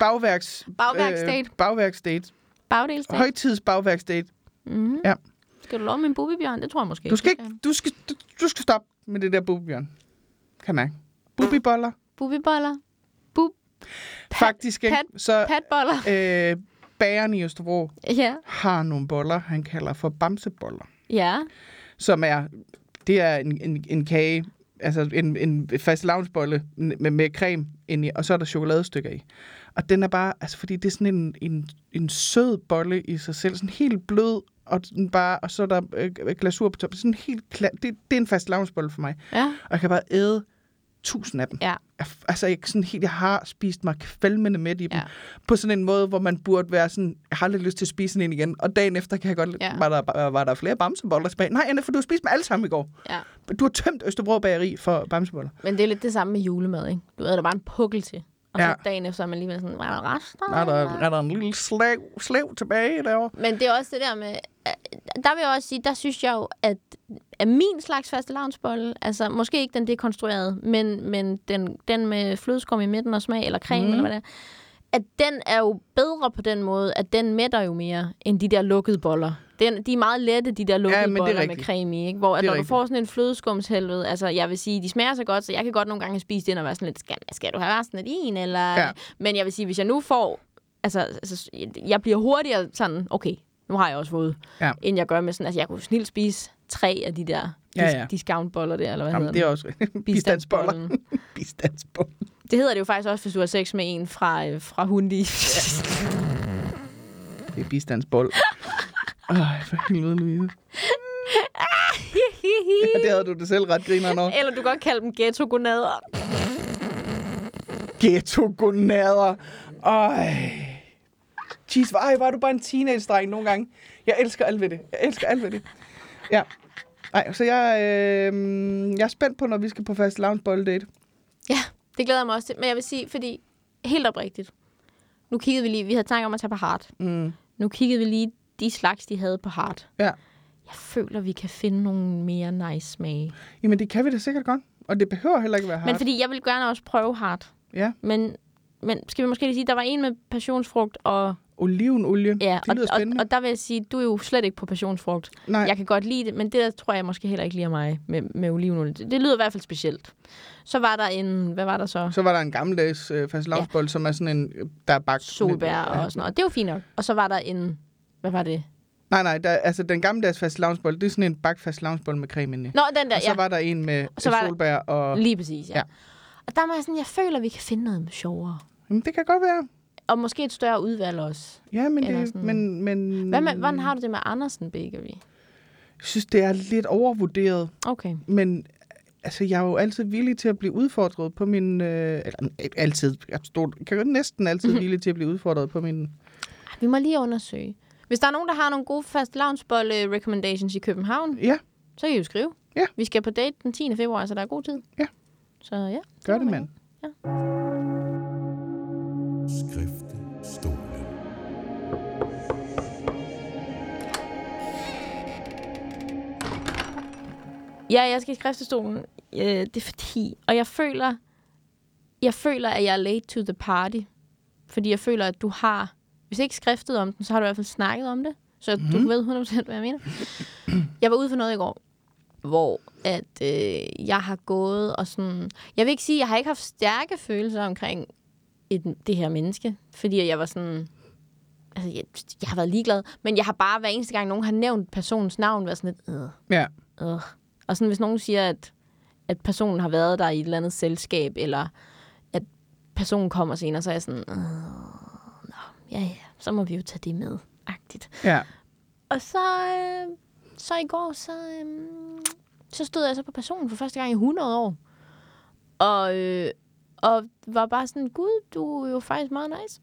A: Bagværks...
B: Bagværksdate.
A: Øh, bagværksdate.
B: Bagdelsdag.
A: Højtids bagværksdate.
B: Mm-hmm.
A: Ja.
B: Skal du love min bubibjørn? Det tror jeg måske
A: Du skal, ikke, du, skal, du, du skal stoppe med det der bubibjørn. Kan jeg mærke. Bubiboller.
B: Bubiboller. Bub.
A: Faktisk ikke.
B: pat-
A: Så
B: Patboller.
A: øh, bageren i Østerbro
B: Ja.
A: har nogle boller, han kalder for bamseboller.
B: Ja.
A: Som er... Det er en, en, en kage, altså en, en fast lavnsbolle med, med creme ind i, og så er der chokoladestykker i. Og den er bare, altså fordi det er sådan en, en, en sød bolle i sig selv, sådan helt blød, og, den bare, og så er der øh, glasur på toppen. Sådan helt klar, det, det er en fast lavnsbolle for mig.
B: Ja.
A: Og jeg kan bare æde tusind af dem.
B: Ja.
A: Jeg, f- altså, jeg, kan sådan helt, jeg har spist mig kvalmende med i dem.
B: Ja.
A: På sådan en måde, hvor man burde være sådan, jeg har lidt lyst til at spise sådan en igen. Og dagen efter kan jeg godt, ja.
B: Ja.
A: var, der, var der flere bamseboller tilbage. Nej, Anna, for du har spist dem alle sammen i går.
B: ja.
A: Du har tømt Østerbro Bageri for bamseboller.
B: Men det er lidt det samme med julemad, ikke? Du æder der bare en pukkel til. Og så
A: Ja.
B: dagen efter er man alligevel sådan, var der rester?
A: Er der, er der en lille slev, slev tilbage derovre?
B: Men det er også det der med... øh, Der vil jeg også sige, der synes jeg jo, at, at min slags faste lavnsbolle, altså måske ikke den dekonstruerede, men, men den, den med flødeskum i midten og smag, eller
A: Mhm.
B: creme, mm. eller hvad det er, at den er jo bedre på den måde, at den mætter jo mere, end de der lukkede boller. Den, de er meget lette, de der lukkede
A: Ja,
B: ja,
A: men det er
B: boller med
A: rigtigt.
B: creme i, ikke? Hvor at
A: Det er
B: når rigtigt.
A: rigtigt.
B: du får sådan en flødeskumshelvede, altså jeg vil sige, de smager så godt, så jeg kan godt nogle gange spise det, og være sådan lidt, skal, skal du have resten af din, eller...
A: Ja.
B: Ja. Men jeg vil sige, hvis jeg nu får altså, altså, jeg bliver hurtigere sådan, okay, nu har jeg også fået,
A: Ja.
B: ja. end jeg gør med sådan, altså, jeg kunne snilt spise tre af de der dis-
A: Ja, ja.
B: discountboller der, eller hvad
A: Jamen,
B: hedder
A: det er også bistandsboller. Bistandsboller.
B: Det hedder det jo faktisk også, hvis du har sex med en fra, øh, fra Hundi. Ja.
A: Det er bistandsbold. Ej, for helvede, Louise. Ja, det havde du det selv ret griner over.
B: eller du kan godt kalde dem ghetto-gonader.
A: ghetto-gonader. Ej. Jeez, hvor- ej, var du bare en teenage-dreng nogle gange. Jeg elsker alt ved det. Jeg elsker alt ved det. Ja. Ej, så jeg, øh, jeg er spændt på, når vi skal på fast lounge date.
B: Ja, det glæder jeg mig også til. Men jeg vil sige, fordi helt oprigtigt, nu kiggede vi lige, vi havde tanker om at tage på hard.
A: Mm.
B: Nu kiggede vi lige de slags, de havde på hard.
A: Ja.
B: Jeg føler, vi kan finde nogle mere nice smage.
A: Jamen, det kan vi da sikkert godt. Og det behøver heller ikke være
B: Men
A: hardt.
B: fordi jeg vil gerne også prøve hard.
A: Ja.
B: Men, men skal vi måske lige sige, der var en med passionsfrugt, og,
A: Olivenolie.
B: ja,
A: det lyder
B: og, og,
A: spændende.
B: og der vil jeg sige, du er jo slet ikke på passionsfrugt.
A: Nej,
B: Jeg kan godt lide det, men det der tror jeg måske heller ikke lige er mig med, med olivenolie. Det, det lyder i hvert fald specielt. Så var der en, hvad var der så?
A: så var der en gammeldags øh, fast ja. som er sådan en, øh, der er bagt.
B: Solbær
A: Ja.
B: og sådan noget. Og Det var fint nok. Og så var der en, hvad var det?
A: Nej, nej, der, altså den gammeldags fast det er sådan en bagt fast med creme inde i.
B: Nå, den der,
A: Og så
B: ja.
A: var der en med
B: så var der-
A: solbær og...
B: Lige præcis, ja.
A: Ja.
B: ja. Og der var jeg sådan, jeg føler, vi kan finde noget sjovere.
A: Jamen, det kan godt være.
B: Og måske et større udvalg også.
A: Ja, men
B: Eller
A: det,
B: sådan-
A: men, men
B: Hvad med, hvordan har du det med Andersen Bakery?
A: jeg synes, det er lidt overvurderet,
B: Okay.
A: men altså, jeg er jo altid villig til at blive udfordret på min... Øh, eller, øh, altid, jeg stod, kan jo næsten altid
B: Mhm.
A: villig til at blive udfordret på min...
B: Vi må lige undersøge. Hvis der er nogen, der har nogle gode fast loungebolle recommendations i København,
A: Ja,
B: så kan I jo skrive.
A: Ja.
B: Vi skal på date den 10. februar, så der er god tid.
A: Ja.
B: Så ja.
A: gør
B: må
A: det,
B: man
A: mand.
C: Skrifte, stole.
B: Ja, jeg skal i skriftestolen. Øh, det er fordi... Og jeg føler, jeg føler, at jeg er late to the party. Fordi jeg føler, at du har... Hvis ikke skriftet om den, så har du i hvert fald snakket om det. Så mm. du ved 100% hvad jeg mener. Jeg var ude for noget i går, hvor at øh, jeg har gået og sådan... Jeg vil ikke sige, at jeg har ikke haft stærke følelser omkring et, det her menneske. Fordi jeg var sådan... Altså, jeg, jeg har været ligeglad. Men jeg har bare hver eneste gang, nogen har nævnt personens navn, været sådan lidt... Øh,
A: Ja,
B: Ugh. Og sådan, hvis nogen siger, at, at personen har været der i et eller andet selskab, eller at personen kommer senere, så er jeg sådan, "Ugh, nå, ja, ja, så må vi jo tage det med, agtigt.
A: ja.
B: Og så, øh, så i går, så, øh, så stod jeg så på personen for første gang i 100 år. Og, øh, og var bare sådan, gud, du er jo faktisk meget nice.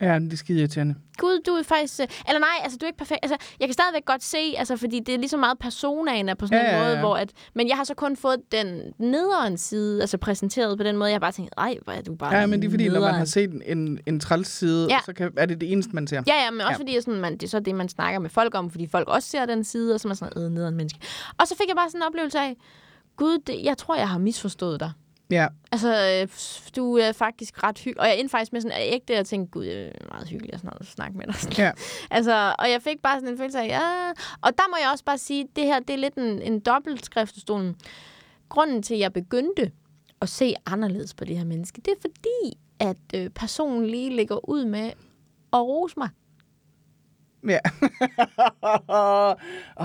A: Ja, men det er skide irriterende.
B: Gud, du er faktisk... øh, Eller nej, altså, du er ikke perfekt. Altså, jeg kan stadigvæk godt se, altså, fordi det er ligesom meget personaen er på sådan
A: Ja,
B: ja, en
A: ja,
B: måde,
A: ja.
B: hvor at... Men jeg har så kun fået den nederen side, altså præsenteret på den måde. Jeg har bare tænkt, nej, hvor er du bare
A: Ja, men det er fordi, når man
B: nederen."
A: har set en- en, en træls side,
B: Ja.
A: så kan, er det det eneste, man ser.
B: Ja, ja, men også
A: Ja.
B: ja. fordi jeg sådan, man, det er så det, man snakker med folk om, fordi folk også ser den side, og så er man sådan, øh, nederen menneske. Og så fik jeg bare sådan en oplevelse af, gud, det, jeg tror, jeg har misforstået dig.
A: ja.
B: Altså, øh, du er faktisk ret hyggelig. Og jeg endte faktisk med sådan ægte, og jeg tænkte, gud, det er meget hyggeligt at, sådan noget, snakke med dig.
A: Ja.
B: altså, og jeg fik bare sådan en følelse af, ja... Og der må jeg også bare sige, det her, det er lidt en, en dobbelt skriftestolen. Grunden til, at jeg begyndte at se anderledes på det her menneske, det er fordi, at øh, personen lige ligger ud med at rose mig.
A: Ja. Åh,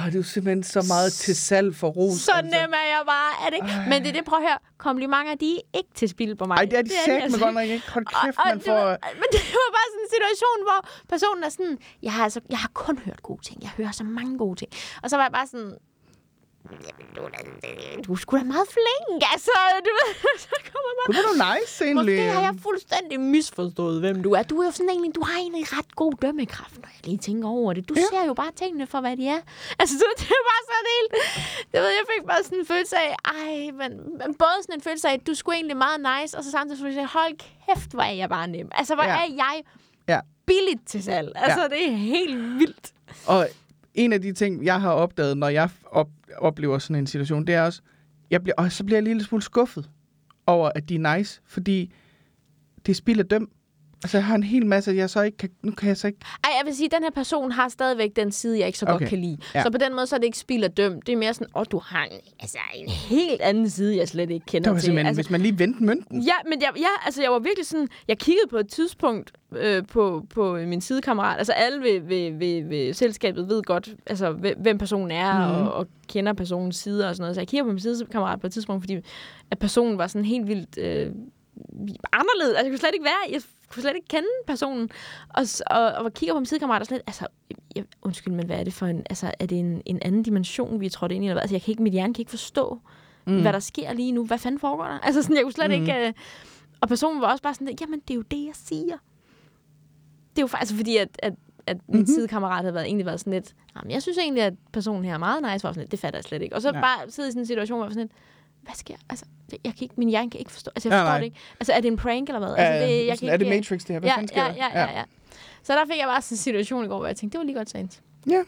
A: det er jo simpelthen så meget til salg for ros.
B: Så nem er jeg bare, er det ikke? Men det er det, prøv at høre, komplimenter, de er ikke til spil på mig.
A: Ej, det er de
B: altså
A: sagt med godt nok ikke. Hold kæft, man
B: det var,
A: får...
B: men det var bare sådan en situation, hvor personen er sådan, jeg har, altså, jeg har kun hørt gode ting, jeg hører så mange gode ting. Og så var jeg bare sådan, "Jamen, du, er da- du er sgu da meget flink, altså. Du, ved, så kommer man,
A: Kunne du nice, egentlig?
B: Måske har jeg fuldstændig misforstået, hvem du er. Du er jo sådan egentlig, du har egentlig ret god dømmekraft, når jeg lige tænker over det. Du
A: Ja.
B: ja. ser jo bare tingene for, hvad de er. Altså, så, det var sådan helt... Det ved, jeg, jeg fik bare sådan en følelse af, ej, men, men både sådan en følelse af, at du skulle egentlig meget nice, og så samtidig følelse af, hold kæft, hvor er jeg bare nem. Altså, hvor
A: Ja.
B: ja. er jeg
A: Ja.
B: billigt til salg. Altså, ja. det er helt vildt.
A: Og en af de ting, jeg har opdaget, når jeg op, oplever sådan en situation, det er også, jeg bliver, og så bliver jeg en lille smule skuffet over, at de er nice, fordi det er spild af døm. Altså, jeg har en hel masse, jeg så ikke kan, nu kan jeg så ikke...
B: Ej, jeg vil sige, at den her person har stadigvæk den side, jeg ikke så okay.
A: Okay.
B: godt kan lide.
A: Ja.
B: Ja. Så på den måde, så er det ikke spild af døm. Det er mere sådan, åh, du har en, altså, en helt anden side, jeg slet ikke
A: Det
B: kender
A: var
B: til.
A: simpelthen, altså,
B: Altså,
A: hvis man lige vendte mønten.
B: ja, men jeg, ja, altså, jeg var virkelig sådan, jeg kiggede på et tidspunkt øh, på, på min sidekammerat. Altså alle ved, ved, ved, ved selskabet ved godt, altså, hvem- hvem personen er mm. og, og kender personens sider og sådan noget. Så jeg kigger på min sidekammerat på et tidspunkt, fordi at personen var sådan helt vildt... Øh, anderledes. Altså, jeg kunne slet ikke være, jeg kunne slet ikke kende personen. Og, s- og, og kigger på min sidekammerat og slet, altså, jeg, undskyld, men hvad er det for en, altså, er det en, en anden dimension, vi er trådt ind i? Eller hvad? Altså, jeg kan ikke, mit hjerne kan ikke forstå, mm. hvad der sker lige nu. Hvad fanden foregår der? Altså, sådan, jeg kunne slet mm. ikke... Øh, og personen var også bare sådan, jamen, det er jo det, jeg siger. Det er jo faktisk fordi, at, at at min
A: Mhm.
B: mm-hmm. sidekammerat havde været, egentlig været sådan lidt, jamen, jeg synes egentlig, at personen her er meget nice, var sådan lidt, det fatter jeg slet ikke. Og så
A: Nej.
B: nej. bare sidde i sådan en situation, hvor jeg var sådan lidt, hvad sker? Altså, det, jeg kan ikke, min hjerne kan ikke forstå, altså, jeg
A: Nej,
B: forstår
A: nej.
B: det ikke. Altså, er det en prank eller hvad? Altså, det, jeg
A: sådan,
B: kan
A: er det
B: ikke,
A: Matrix, det her? Hvad
B: Ja,
A: fanden sker
B: ja,
A: der?
B: ja, ja, ja. Så der fik jeg bare sådan en situation i går, hvor jeg tænkte, det var lige godt sent.
A: Ja.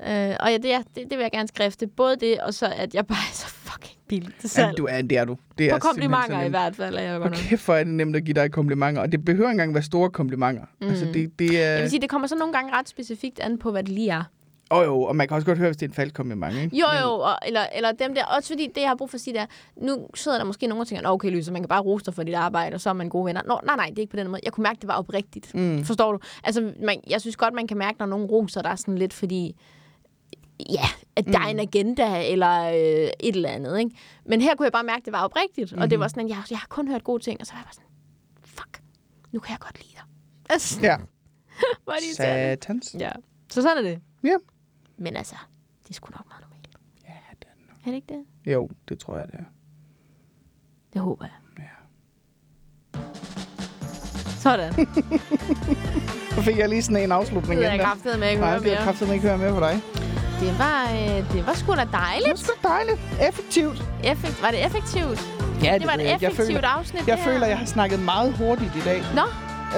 B: Øh, og ja, det, er, det, det vil jeg gerne skrifte. Både det, og så, at jeg bare er så fucking billig til
A: ja.
B: salg.
A: du er, det er du. Det
B: På
A: er simpelthen så
B: komplimenter i
A: nemt.
B: hvert fald, er jeg godt
A: Og
B: nok.
A: kæft, hvor er det nemt at give dig komplimenter. Og det behøver ikke engang være store komplimenter. Mm. Altså, det, det
B: Jeg
A: er...
B: vil sige, det kommer så nogle gange ret specifikt an på, hvad det lige er.
A: Åh jo, og man kan også godt høre, hvis det er en falsk kompliment, ikke?
B: Jo, jo, og, eller, eller dem der. Også fordi det, jeg har brug for at sige, det er, nu sidder der måske nogen og tænker, "Nå, okay, Lyse, man kan bare rose dig for dit arbejde, og så er man gode venner. Nå, nej, nej, det er ikke på den måde. Jeg kunne mærke, det var oprigtigt. Mm. Forstår du? Altså, man, jeg synes godt, man kan mærke, når nogen roser dig sådan lidt, fordi ja, at der mm. er en agenda eller øh, et eller andet. Ikke? Men her kunne jeg bare mærke, det var oprigtigt. Mm. Og det var sådan, at jeg, jeg har kun hørt gode ting, og så var jeg bare sådan, fuck, nu kan jeg godt lide dig. Altså,
A: Ja.
B: hvor er det irriterende.
A: Satans.
B: Ja. Så sådan er det.
A: Ja.
B: Men altså, det er sgu nok meget normalt. Ja, det er nok. Er det ikke det?
A: Jo, det tror jeg, det er.
B: Det håber jeg. Ja. Sådan. Det
A: Så fik jeg lige sådan en afslutning.
B: ved jeg
A: igen der.
B: kraftedeme med, ikke
A: Nej,
B: høre
A: det er
B: mere.
A: kraftigt, ikke høre med på dig.
B: Det var, øh, det var sgu da
A: Det er
B: dejligt.
A: sgu dejligt. Effektivt.
B: Effekt, var det effektivt?
A: Ja,
B: det var et
A: ved jeg ikke.
B: effektivt
A: jeg føler,
B: afsnit.
A: Jeg
B: det her.
A: føler, jeg har snakket meget hurtigt i dag.
B: Nå,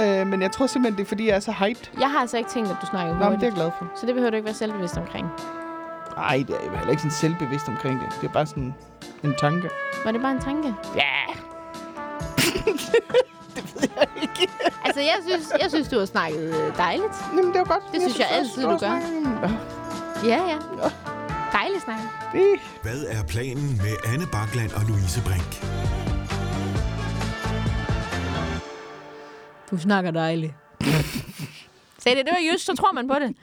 A: Øh, men jeg tror simpelthen, det er, fordi jeg er så hyped.
B: jeg har altså ikke tænkt, at du
A: Nå,
B: snakkede
A: men
B: hurtigt.
A: det er jeg glad for.
B: Så det behøver du ikke være selvbevidst omkring.
A: Nej, det er jeg heller ikke sådan selvbevidst omkring det. Det er bare sådan en tanke.
B: Var det bare en tanke?
A: Ja.
B: Altså, jeg synes, jeg synes du har snakket øh, dejligt.
A: Jamen, det var godt.
B: Det synes jeg
A: også,
B: altid,
A: var
B: du gør.
A: snakken. Åh,
B: Ja, ja. Dejligt snakket.
A: det-
C: Hvad er planen med Anne Bakland og Louise Brink?
B: Du snakker dejligt. Sagde det, det var jysk, så tror man på det.